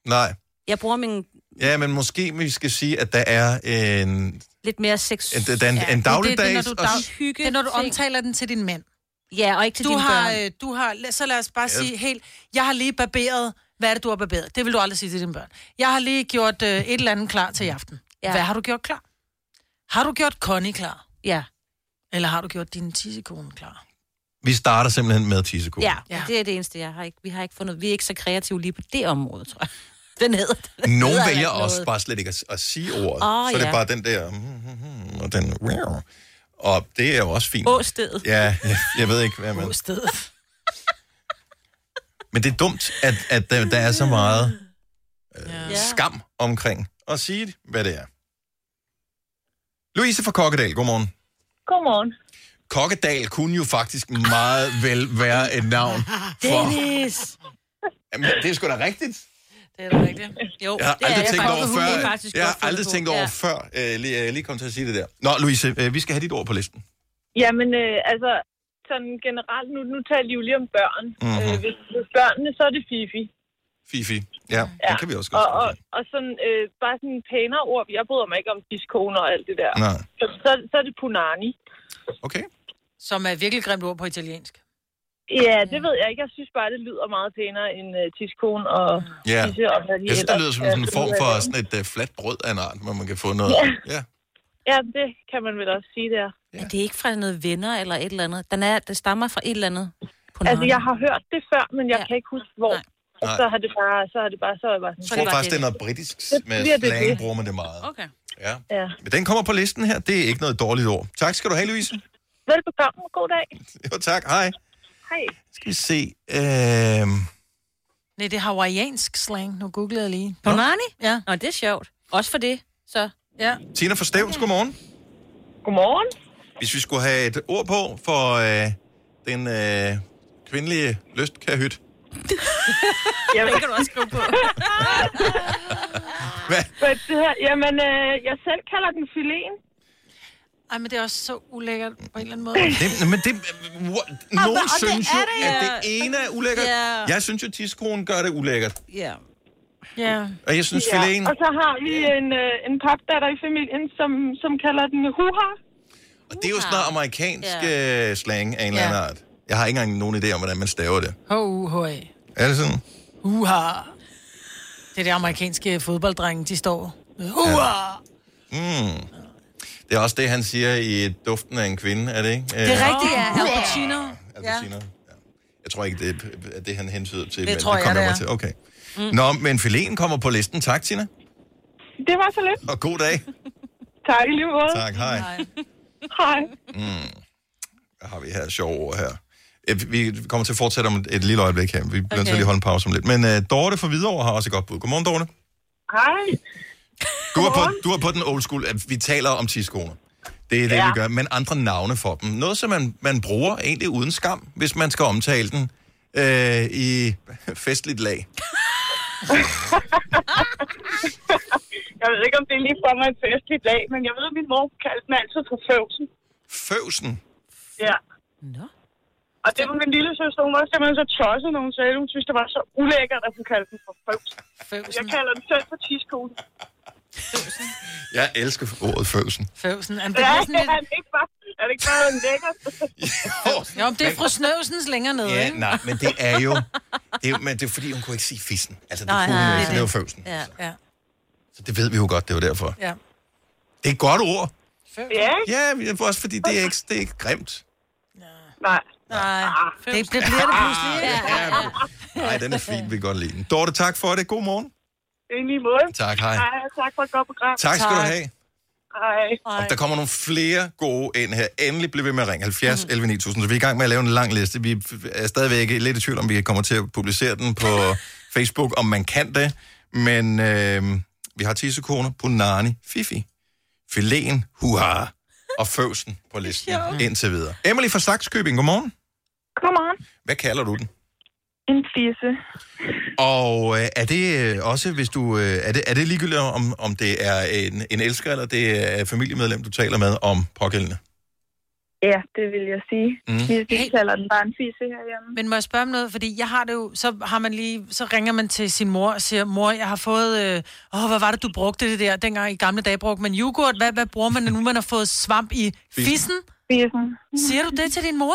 A: Nej.
B: Jeg bruger min
A: Ja, men måske vi skal sige, at der er en...
B: lidt mere sex...
A: En- der er en- en dagligdags-
C: Det, det, er, når du,
A: og-
C: dag, det er, når du omtaler den til din mand.
B: Ja, og ikke til
C: du
B: dine
C: har,
B: børn.
C: øh, Du har, la- så lad os bare
B: Ja.
C: sige helt, jeg har lige barberet, hvad er det, du har barberet? Det vil du aldrig sige til dine børn. Jeg har lige gjort øh, et eller andet klar til i aften. Ja.
B: Ja.
C: Hvad har du gjort klar? Har du gjort Connie klar?
B: Ja.
C: Eller har du gjort din tissekone klar?
A: Vi starter simpelthen med tissekone.
B: Ja, ja, det er det eneste, jeg har ikke. Vi har ikke fundet... Vi er ikke så kreative lige på det område, tror jeg. Den hedder... den
A: Nogle
B: hedder
A: vælger
B: ikke noget.
A: også bare slet ikke at, at sige ordet.
B: Åh,
A: så er det
B: ja.
A: bare den der... mm, mm, mm, Og den... Og det er jo også fint.
B: Åstedet.
A: Ja, jeg, jeg ved ikke, hvad man...
C: Åstedet.
A: Men det er dumt, at, at der, der er så meget øh, skam omkring at sige, hvad det er. Louise fra Kokkedal, godmorgen.
R: Godmorgen.
A: Kokkedal kunne jo faktisk meget vel være et navn for...
B: Dennis!
A: Jamen, det er sgu da rigtigt.
C: Det er da rigtigt. Jo,
A: Jeg har
C: er
A: aldrig
C: jeg faktisk.
A: tænkt over
C: Hun
A: før. øh,
C: kan faktisk
A: Jeg
C: godt
A: har
C: finde
A: aldrig
C: på.
A: tænkt over
R: Ja.
A: før. Øh, lige, jeg lige kom til at sige det der. Nå, Louise, øh, vi skal have dit ord på listen.
R: Jamen, øh, altså, sådan generelt, nu, nu taler vi jo lige om børn.
A: Mhm.
R: Mm-hmm. Øh, hvis, hvis børnene, så er det fifi.
A: Fifi. Ja, ja. det kan vi også godt.
R: og, og, og sådan, øh, bare sådan pænere ord. Jeg bryder mig ikke om diskoner og alt det der.
A: Nej.
R: Så, så, så er det punani.
A: Okay.
C: Som er et virkelig grimt ord på italiensk.
R: Ja, det ved jeg ikke. Jeg synes bare, det lyder meget pænere end øh, tiskon og
A: Ja.
R: tisse og hvad de
A: Jeg synes, det
R: ellers
A: lyder som
R: er
A: sådan en form
R: ud
A: for
R: af.
A: sådan et øh, fladt brød af en art, hvor man kan få noget.
R: Ja.
A: ja.
R: Ja, det kan man vel også sige, det er.
B: Ja. Er det ikke fra noget venner eller et eller andet? Den er, det stammer fra et eller andet.
R: Altså, jeg har hørt det før, men jeg ja. kan ikke huske, hvor. Og
A: Nej.
R: så har det bare, så har det bare, så er det bare sådan.
A: Jeg tror faktisk, det er noget britisk.
R: Det bliver
A: Med
R: det
A: slang
R: det.
A: bruger man det meget.
R: Okay.
A: Ja.
R: Ja.
A: Men den kommer på listen her. Det er ikke noget dårligt ord. Tak skal du have, Louise.
R: Velbekomme. God dag.
A: Jo, tak. Hej.
R: Hej.
A: Skal vi se. Øh...
C: Nej, det er hawaiiansk slang. Nu googlede jeg lige.
B: Punani?
C: Ja.
B: Nå, det er sjovt. Også for det, så.
C: Ja.
A: Tina fra Stævns, godmorgen.
R: Godmorgen.
A: Hvis vi skulle have et ord på for øh, den øh, kvindelige lystkahyt.
R: Jamen.
B: Det kan du også skrive på.
A: Hvad?
R: Hvad det her? Jamen, øh, jeg selv kalder den filen.
C: Ej, men det er også så ulækkert på en eller anden måde.
A: Det, men det, øh, what? Nogen
C: og det
A: synes
C: er
A: jo,
C: det,
A: at
C: ja.
A: det ene er ulækkert.
R: Ja.
A: Jeg synes jo, at tidskronen gør det ulækkert.
R: Ja.
C: Ja.
A: Og jeg synes, filéen-
R: Og så har vi en, øh, en papdatter i familien, som, som kalder den huha.
A: Og det er jo sådan noget amerikansk
R: Ja.
A: ja. slang af en eller anden art. Jeg har ikke engang nogen idé om, hvordan man staver det.
C: H-U-H-A.
A: Er det sådan?
C: Uha. Det er det amerikanske fodbolddrenge, de står. Uha.
A: Mm. Det er også det, han siger i Duften af en kvinde, er det ikke? Øh,
C: Det er rigtigt, ja. Al Pacino. Ja.
A: Pacino. Ja. Jeg tror ikke, det er det, han hensyder til.
R: Det tror jeg,
A: kommer
R: det
A: mig
R: er.
A: Til. Okay. Mm. Nå, men filéen kommer på listen. Tak, Tina.
R: Det var så lidt.
A: Og god dag.
R: Tak i lige måde.
A: Tak, hej. Hej.
R: Hej.
A: Mm. Hvad har vi her sjove ord her? Eh, Vi kommer til at fortsætte om et, et lille øjeblik her. Vi bliver okay. nødt til at lige holde en pause om lidt. Men uh, Dorte fra Hvidovre har også et godt bud. Godmorgen, Dorte.
R: Hej.
A: Du er, på, du er på den old school. at Vi taler om tidskoner. Det er det, ja.
R: Ja.
A: vi gør. Men andre navne for dem. Noget, som man, man bruger egentlig uden skam, hvis man skal omtale den øh, i festligt lag.
R: Jeg ved ikke, om det er lige for mig en festlig dag, men jeg ved, at min mor kaldte mig altid for føvsen.
A: Føvsen.
R: Ja.
B: Nå.
R: Og det var min lille søster, hun var simpelthen så tosset, når hun sagde, at hun synes, det var så ulækkert, at hun kaldte den for føvsen.
C: Føvsen.
R: Jeg kalder den selv for tidskone.
A: Jeg elsker ordet føvsen.
C: Føvsen. Jamen, det
R: Ja,
C: er sådan lidt...
R: er det ikke bare, er det ikke bare lækkert?
C: Jo, men det er fru Snøvsens længere nede,
A: Ja,
C: ikke?
A: nej, men det er jo... Det er, jo- men det er fordi, hun kunne ikke sige fissen. Altså, det,
C: Nej,
A: nej, kunne,
C: nej,
A: nej,
C: det
A: det,
C: er
A: det var
C: det.
A: føvsen.
C: Ja. ja.
A: Så det ved vi jo godt, det var derfor.
C: ja.
A: Det er et godt ord.
R: Ja.
A: Ja, men også fordi det er ikke, det er ikke grimt.
R: Nej. Ah.
C: Nej. Det, det bliver det pludselig, ikke?
A: Nej, den er fin, vi kan godt lide den. Dorte, tak for det. God morgen.
R: Det er lige måde.
A: Tak, hej.
R: Hej, tak for et godt program.
A: Tak skal du have.
R: Hej.
A: Og der kommer nogle flere gode ind her. Endelig bliver ved med at ringe 70 11 9000. Så vi er i gang med at lave en lang liste. Vi er stadigvæk lidt i tvivl om, vi kommer til at publicere den på Facebook, om man kan det. Men øh, vi har tissekoner, punani, fifi, filéen, huha og føvsen på listen indtil videre. Emily fra Saxkøbing, godmorgen.
H: Godmorgen.
A: Hvad kalder du den?
H: En fisse.
A: Og øh, er det øh, også, hvis du... Øh, er, det, er det ligegyldigt, om, om det er en, en elsker, eller det er et familiemedlem, du taler med om pågældende?
H: Ja, det vil jeg sige.
A: Mm.
H: Vi, vi kalder den bare en fisse herhjemme.
C: Men må jeg spørge om noget? Fordi jeg har det jo, så, har man lige, så ringer man til sin mor og siger, mor, jeg har fået, øh, åh, hvad var det, du brugte det der? Dengang i gamle dage brugte man yoghurt. Hvad, hvad bruger man, når nu man har fået svamp i
H: Fissen.
C: fissen?
H: Fissen.
C: Siger du det til din mor?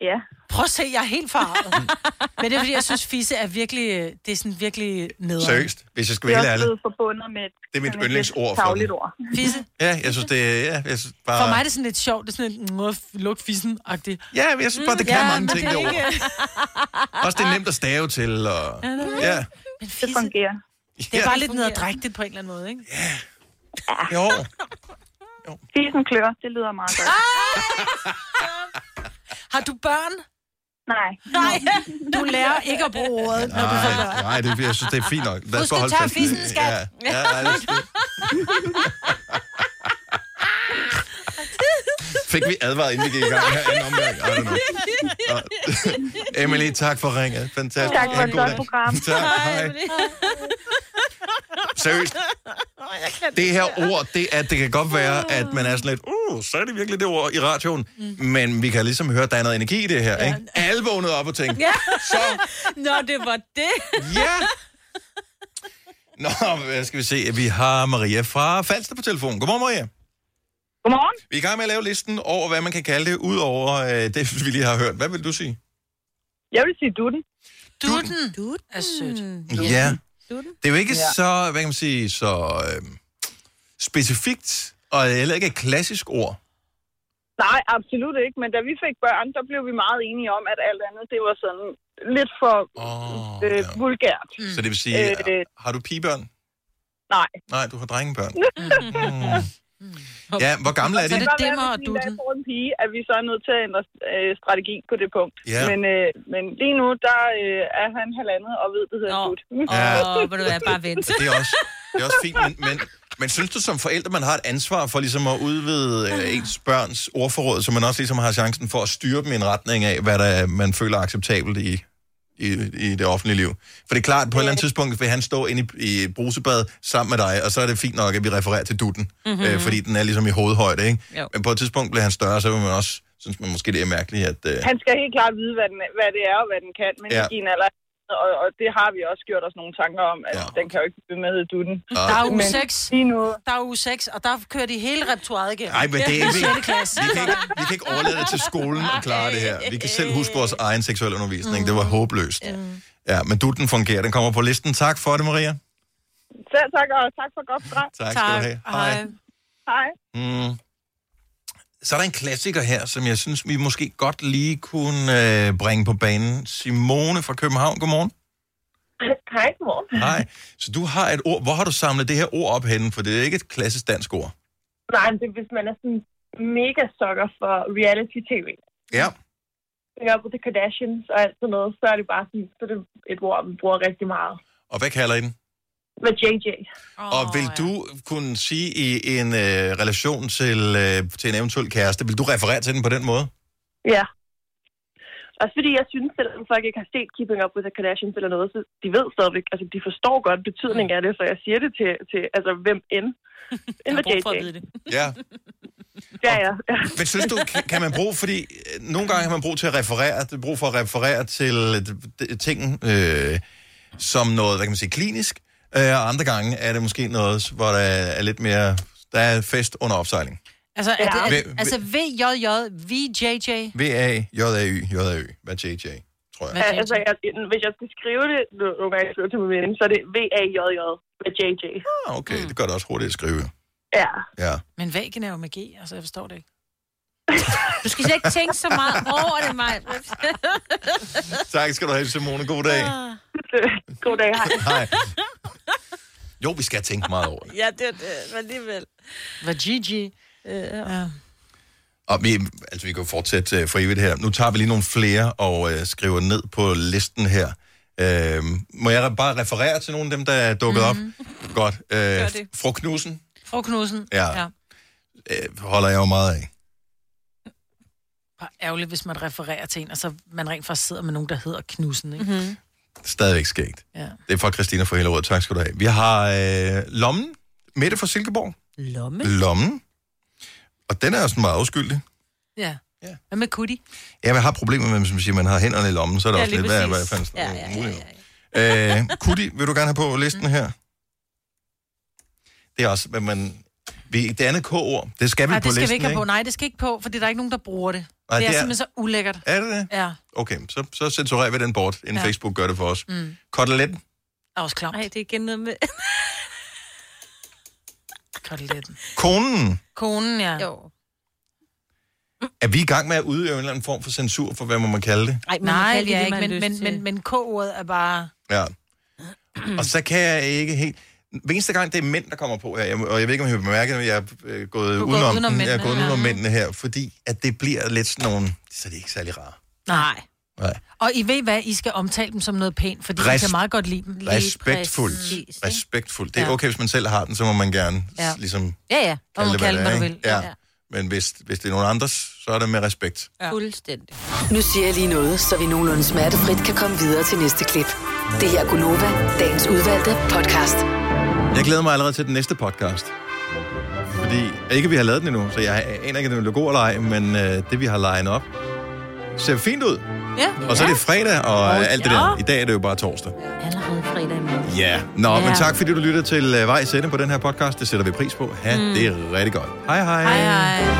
H: Ja.
C: Prøv at se, jeg er helt farvet. Men det er, fordi jeg synes, fisse er virkelig, øh, det er sådan virkelig nederen.
A: Seriøst, hvis jeg skal være helt ærlig.
H: forbundet med et,
A: Det er mit sådan et yndlingsord lidt for tarveligt den.
H: ord.
C: Fisse.
A: Ja, jeg synes, det er... Ja, jeg synes bare...
C: For mig er det sådan lidt sjovt. Det er sådan lidt, noget lugt fissen-agtigt.
A: Ja, men jeg synes bare, det kan mange ting, det
C: over.
A: Også det er nemt at stave til, og... Ja.
H: Det fungerer.
C: Det er bare lidt nederdrægtigt på en eller anden måde, ikke? Ah.
A: Jo.
Y: Fisen klør, det lyder meget godt.
C: Ah, Har du børn?
Y: Nej.
C: Nej, du lærer ikke at bruge ordet, når du får
A: Nej,
C: børn.
A: nej det, jeg synes, det er fint nok. Lad os
C: Husk
A: bare
C: at
A: holde
C: tørre
A: fast i
C: fissen,
A: det.
C: skat.
A: Ja, ja, nej, det er skidt. Fik vi advaret, inden vi gik i gang her anden omgang? I don't know. Nå. Emily, tak for ringet. Fantastisk.
Y: Tak for
A: Ha' en
Y: et
A: god
Y: godt
A: dag.
Y: program.
A: Tak, hej. Seriøst, det her ord, det, er, det kan godt være,
C: Ah.
A: at man er sådan lidt, uh, så er det virkelig det ord i radioen. Mm. Men vi kan ligesom høre, at der er noget energi i det her, ikke? Alle vågnede op og tænkte,
B: Ja. Nå, det var det.
A: Ja. Nå, hvad skal vi se? Vi har Maria fra Falster på telefon. Godmorgen, Maria.
Z: Godmorgen.
A: Vi er i gang med at lave listen over, hvad man kan kalde det, ud over øh, det, vi lige har hørt. Hvad vil du sige?
Z: Jeg vil sige dutten.
C: Dutten. Dutten er sødt.
A: Ja. Det er jo ikke så, hvad kan man sige, så øh, specifikt, og heller ikke et klassisk ord.
Z: Nej, absolut ikke. Men da vi fik børn, der blev vi meget enige om, at alt andet, det var sådan lidt for oh, øh, vulgært.
A: Mm. Så det vil sige,
Z: Øh,
A: har du pigebørn?
Z: nej.
A: Nej, du har drengebørn. Ja, hvor gamle er de?
Z: kan godt være, hvis vi en dag får en pige, at vi så er nødt til at ændre øh, strategi på det punkt.
A: Ja.
Z: Men, øh, men lige nu, der øh, er han halvandet og ved, det hedder Dut.
A: Det er også, det er også fint, men, men, men synes du som forældre, man har et ansvar for ligesom at udvide øh, ens børns ordforråd, så man også ligesom har chancen for at styre dem i en retning af, hvad der, er, man føler er acceptabelt i, i, i det offentlige liv? For det er klart, på et eller andet tidspunkt vil han stå inde i, i brusebad sammen med dig, og så er det fint nok, at vi refererer til dutten,
N: Mhm.
A: mm-hmm. øh, fordi den er ligesom i hovedhøjde, ikke?
Z: Jo.
A: Men på et tidspunkt bliver han større, så vil man også synes man måske, det er mærkeligt, at... Øh,
Z: Han skal helt klart vide, hvad, den, hvad det er og hvad den kan, men
A: Ja.
Z: ja. i en alder. Og, og det har vi også gjort os nogle tanker om, at ja. den kan jo ikke blive med at hedde Dutten.
C: Der er uge
Z: Men
C: 6, der er uge 6, og der kører de hele repertoireet igennem.
A: Ej, men det er ikke...
C: Sjette klasse.
A: Vi kan ikke, vi kan ikke overlade det til skolen at klare det her. Vi kan selv huske vores egen seksuelle undervisning. Det var håbløst. Mm. Ja, men du, den fungerer. Den kommer på listen. Tak for det, Maria.
Z: Selv tak, og tak for et godt program.
A: Tak skal du Tak. have. Hej.
Z: Hej.
A: Mm. Så er der en klassiker her, som jeg synes, vi måske godt lige kunne øh, bringe på banen. Simone fra København, godmorgen.
R: Hej, godmorgen.
A: Hej. Så du har et ord. Hvor har du samlet det her ord op henne? For det er ikke et klassisk dansk ord.
R: Nej, men det, er, hvis man er sådan mega sukker for reality-tv,
A: Ja.
R: tænker på The Kardashians og alt sådan noget, så er det bare sådan, så er det et ord, vi bruger rigtig meget.
A: Og hvad kalder I den?
R: Med JJ.
A: Oh, og vil ja. du kunne sige i en øh, relation til, øh, til en eventuel kæreste, vil du referere til den på den måde?
R: Ja. Også fordi jeg synes, selvom folk ikke har set Keeping Up with the Kardashians eller noget, så de ved stadigvæk, altså de forstår godt betydningen af det, så jeg siger det til, til altså hvem end. end med JJ.
A: Ja.
R: Ja, ja.
A: Men synes du, kan- kan man bruge, fordi øh, nogle gange har man brug til at referere, det er brug for at referere til øh, d- d- ting øh, som noget, hvad kan man sige, klinisk, øh, og andre gange er det måske noget, hvor der er lidt mere, der er fest under opsejling.
C: Altså, er det, er,
A: V-
C: det-
A: V-
C: altså VJJ, VJJ.
A: V-A-J-A-Y, J-A-Y, hvad er JJ?
R: Ja, altså, jeg, hvis jeg skal skrive det, nu- nogle gange jeg skriver til min veninde, så er det V-A-J-J med JJ.
A: Ah, okay, det gør det også hurtigt at skrive.
R: Ja.
A: Ja.
C: Men væggen er jo magi, altså jeg forstår det ikke.
B: Du skal slet ikke tænke så meget over det, Maj.
A: Tak skal du have, Simone. God dag.
R: God dag, hej.
A: Hej. Jo, vi skal tænke meget over det.
B: ja, det er det, men alligevel.
C: Hvad Gigi? Øh,
B: Ja.
A: Og vi, altså, vi kan jo fortsætte øh, for evigt her. Nu tager vi lige nogle flere og øh, skriver ned på listen her. Øh, må jeg re- bare referere til nogle af dem, der er dukket mm-hmm. op? Godt. Øh,
C: Mhm. det.
A: Fru Knudsen
C: Fru Knudsen.
A: Ja. øh, holder jeg jo meget af.
C: Bare ærgerligt, hvis man refererer til en, og så man rent faktisk sidder med nogen, der hedder Knudsen, ikke? Mm-hmm.
A: Stadigvæk skægt.
C: Ja.
A: Det er fra Christina fra Hellerød. Tak skal du have. Vi har øh, Lommen. Mette fra Silkeborg.
B: Lomme?
A: Lommen. Og den er jo sådan meget afskyldig.
C: Ja. Hvad med Kuti?
A: Ja, jeg har problemer med, hvis man siger, man har hænderne i lommen, så er det
C: Ja,
A: også
C: lige
A: lidt, hvad, øh, hvad
C: præcis.
A: fanden
C: Ja,
A: ja, ja, ja, ja. Øh, Kudi, vil du gerne have på listen her? Det er også, men man... Vi, det andet K-ord, det skal vi
C: Nej,
A: på
C: det skal
A: listen,
C: vi ikke have på.
A: ikke?
C: Nej, det skal ikke på, for der er ikke nogen, der bruger det.
A: Nej,
C: det, er
A: det er-
C: simpelthen så ulækkert.
A: Er det det?
C: Ja.
A: Okay, så, så censurerer vi den bort, inden
C: Ja.
A: ja. Facebook gør det for os.
C: Mm.
A: Koteletten.
C: Er også klamt. Nej,
B: det er igen noget med...
C: Koteletten.
A: Konen.
C: Konen, ja.
B: Jo.
A: Er vi i gang med at udøve en eller anden form for censur, for hvad må man kalde det?
B: Ej,
C: Nej, Nej det er ikke, men, men, men, men K-ordet er bare...
A: Ja. Og så kan jeg ikke helt... Hver eneste gang, det er mænd, der kommer på her, jeg- og jeg ved ikke, om I har bemærket, men jeg er øh, gået
C: gået
A: udenom,
C: udenom
A: den. jeg er
C: mændene,
A: gået udenom
C: ja.
A: mændene her, fordi at det bliver lidt sådan nogle... Så er de ikke særlig rare.
C: Nej.
A: Nej.
C: Og I ved hvad, I skal omtale dem som noget pænt, fordi Rest... I
A: Rest-
C: kan meget godt lide dem.
A: Respektfuldt. Respektfuldt. Det er
C: Ja.
A: okay, hvis man selv har den, så må man gerne
C: Ja.
A: ja. ligesom
B: Ja, ja. Og man
A: det, hvad
B: kalde,
A: det
B: hvad
A: er,
B: du
A: ikke?
B: vil.
A: Ja. Men hvis, hvis det er nogen andres, så er det med respekt.
B: Ja. Fuldstændig.
Q: Nu siger jeg lige noget, så vi nogenlunde smertefrit kan komme videre til næste klip. Det her er Gunova, dagens udvalgte podcast.
A: Jeg glæder mig allerede til den næste podcast. Fordi, ikke at vi har lavet den endnu, så jeg aner ikke, om den bliver god eller ej, men øh, det, vi har legnet op, ser fint ud.
B: Ja.
A: Og så er det fredag og
B: Åh,
A: oh, alt det
B: ja.
A: der. I dag er det jo bare torsdag.
B: Allerede fredag imorgen.
A: Ja. Nå,
B: Ja.
A: men tak fordi du lytter til øh, vejs ende på den her podcast. Det sætter vi pris på. Ha'
B: Mm.
A: det rigtig godt. Hej hej.
B: Hej, hej.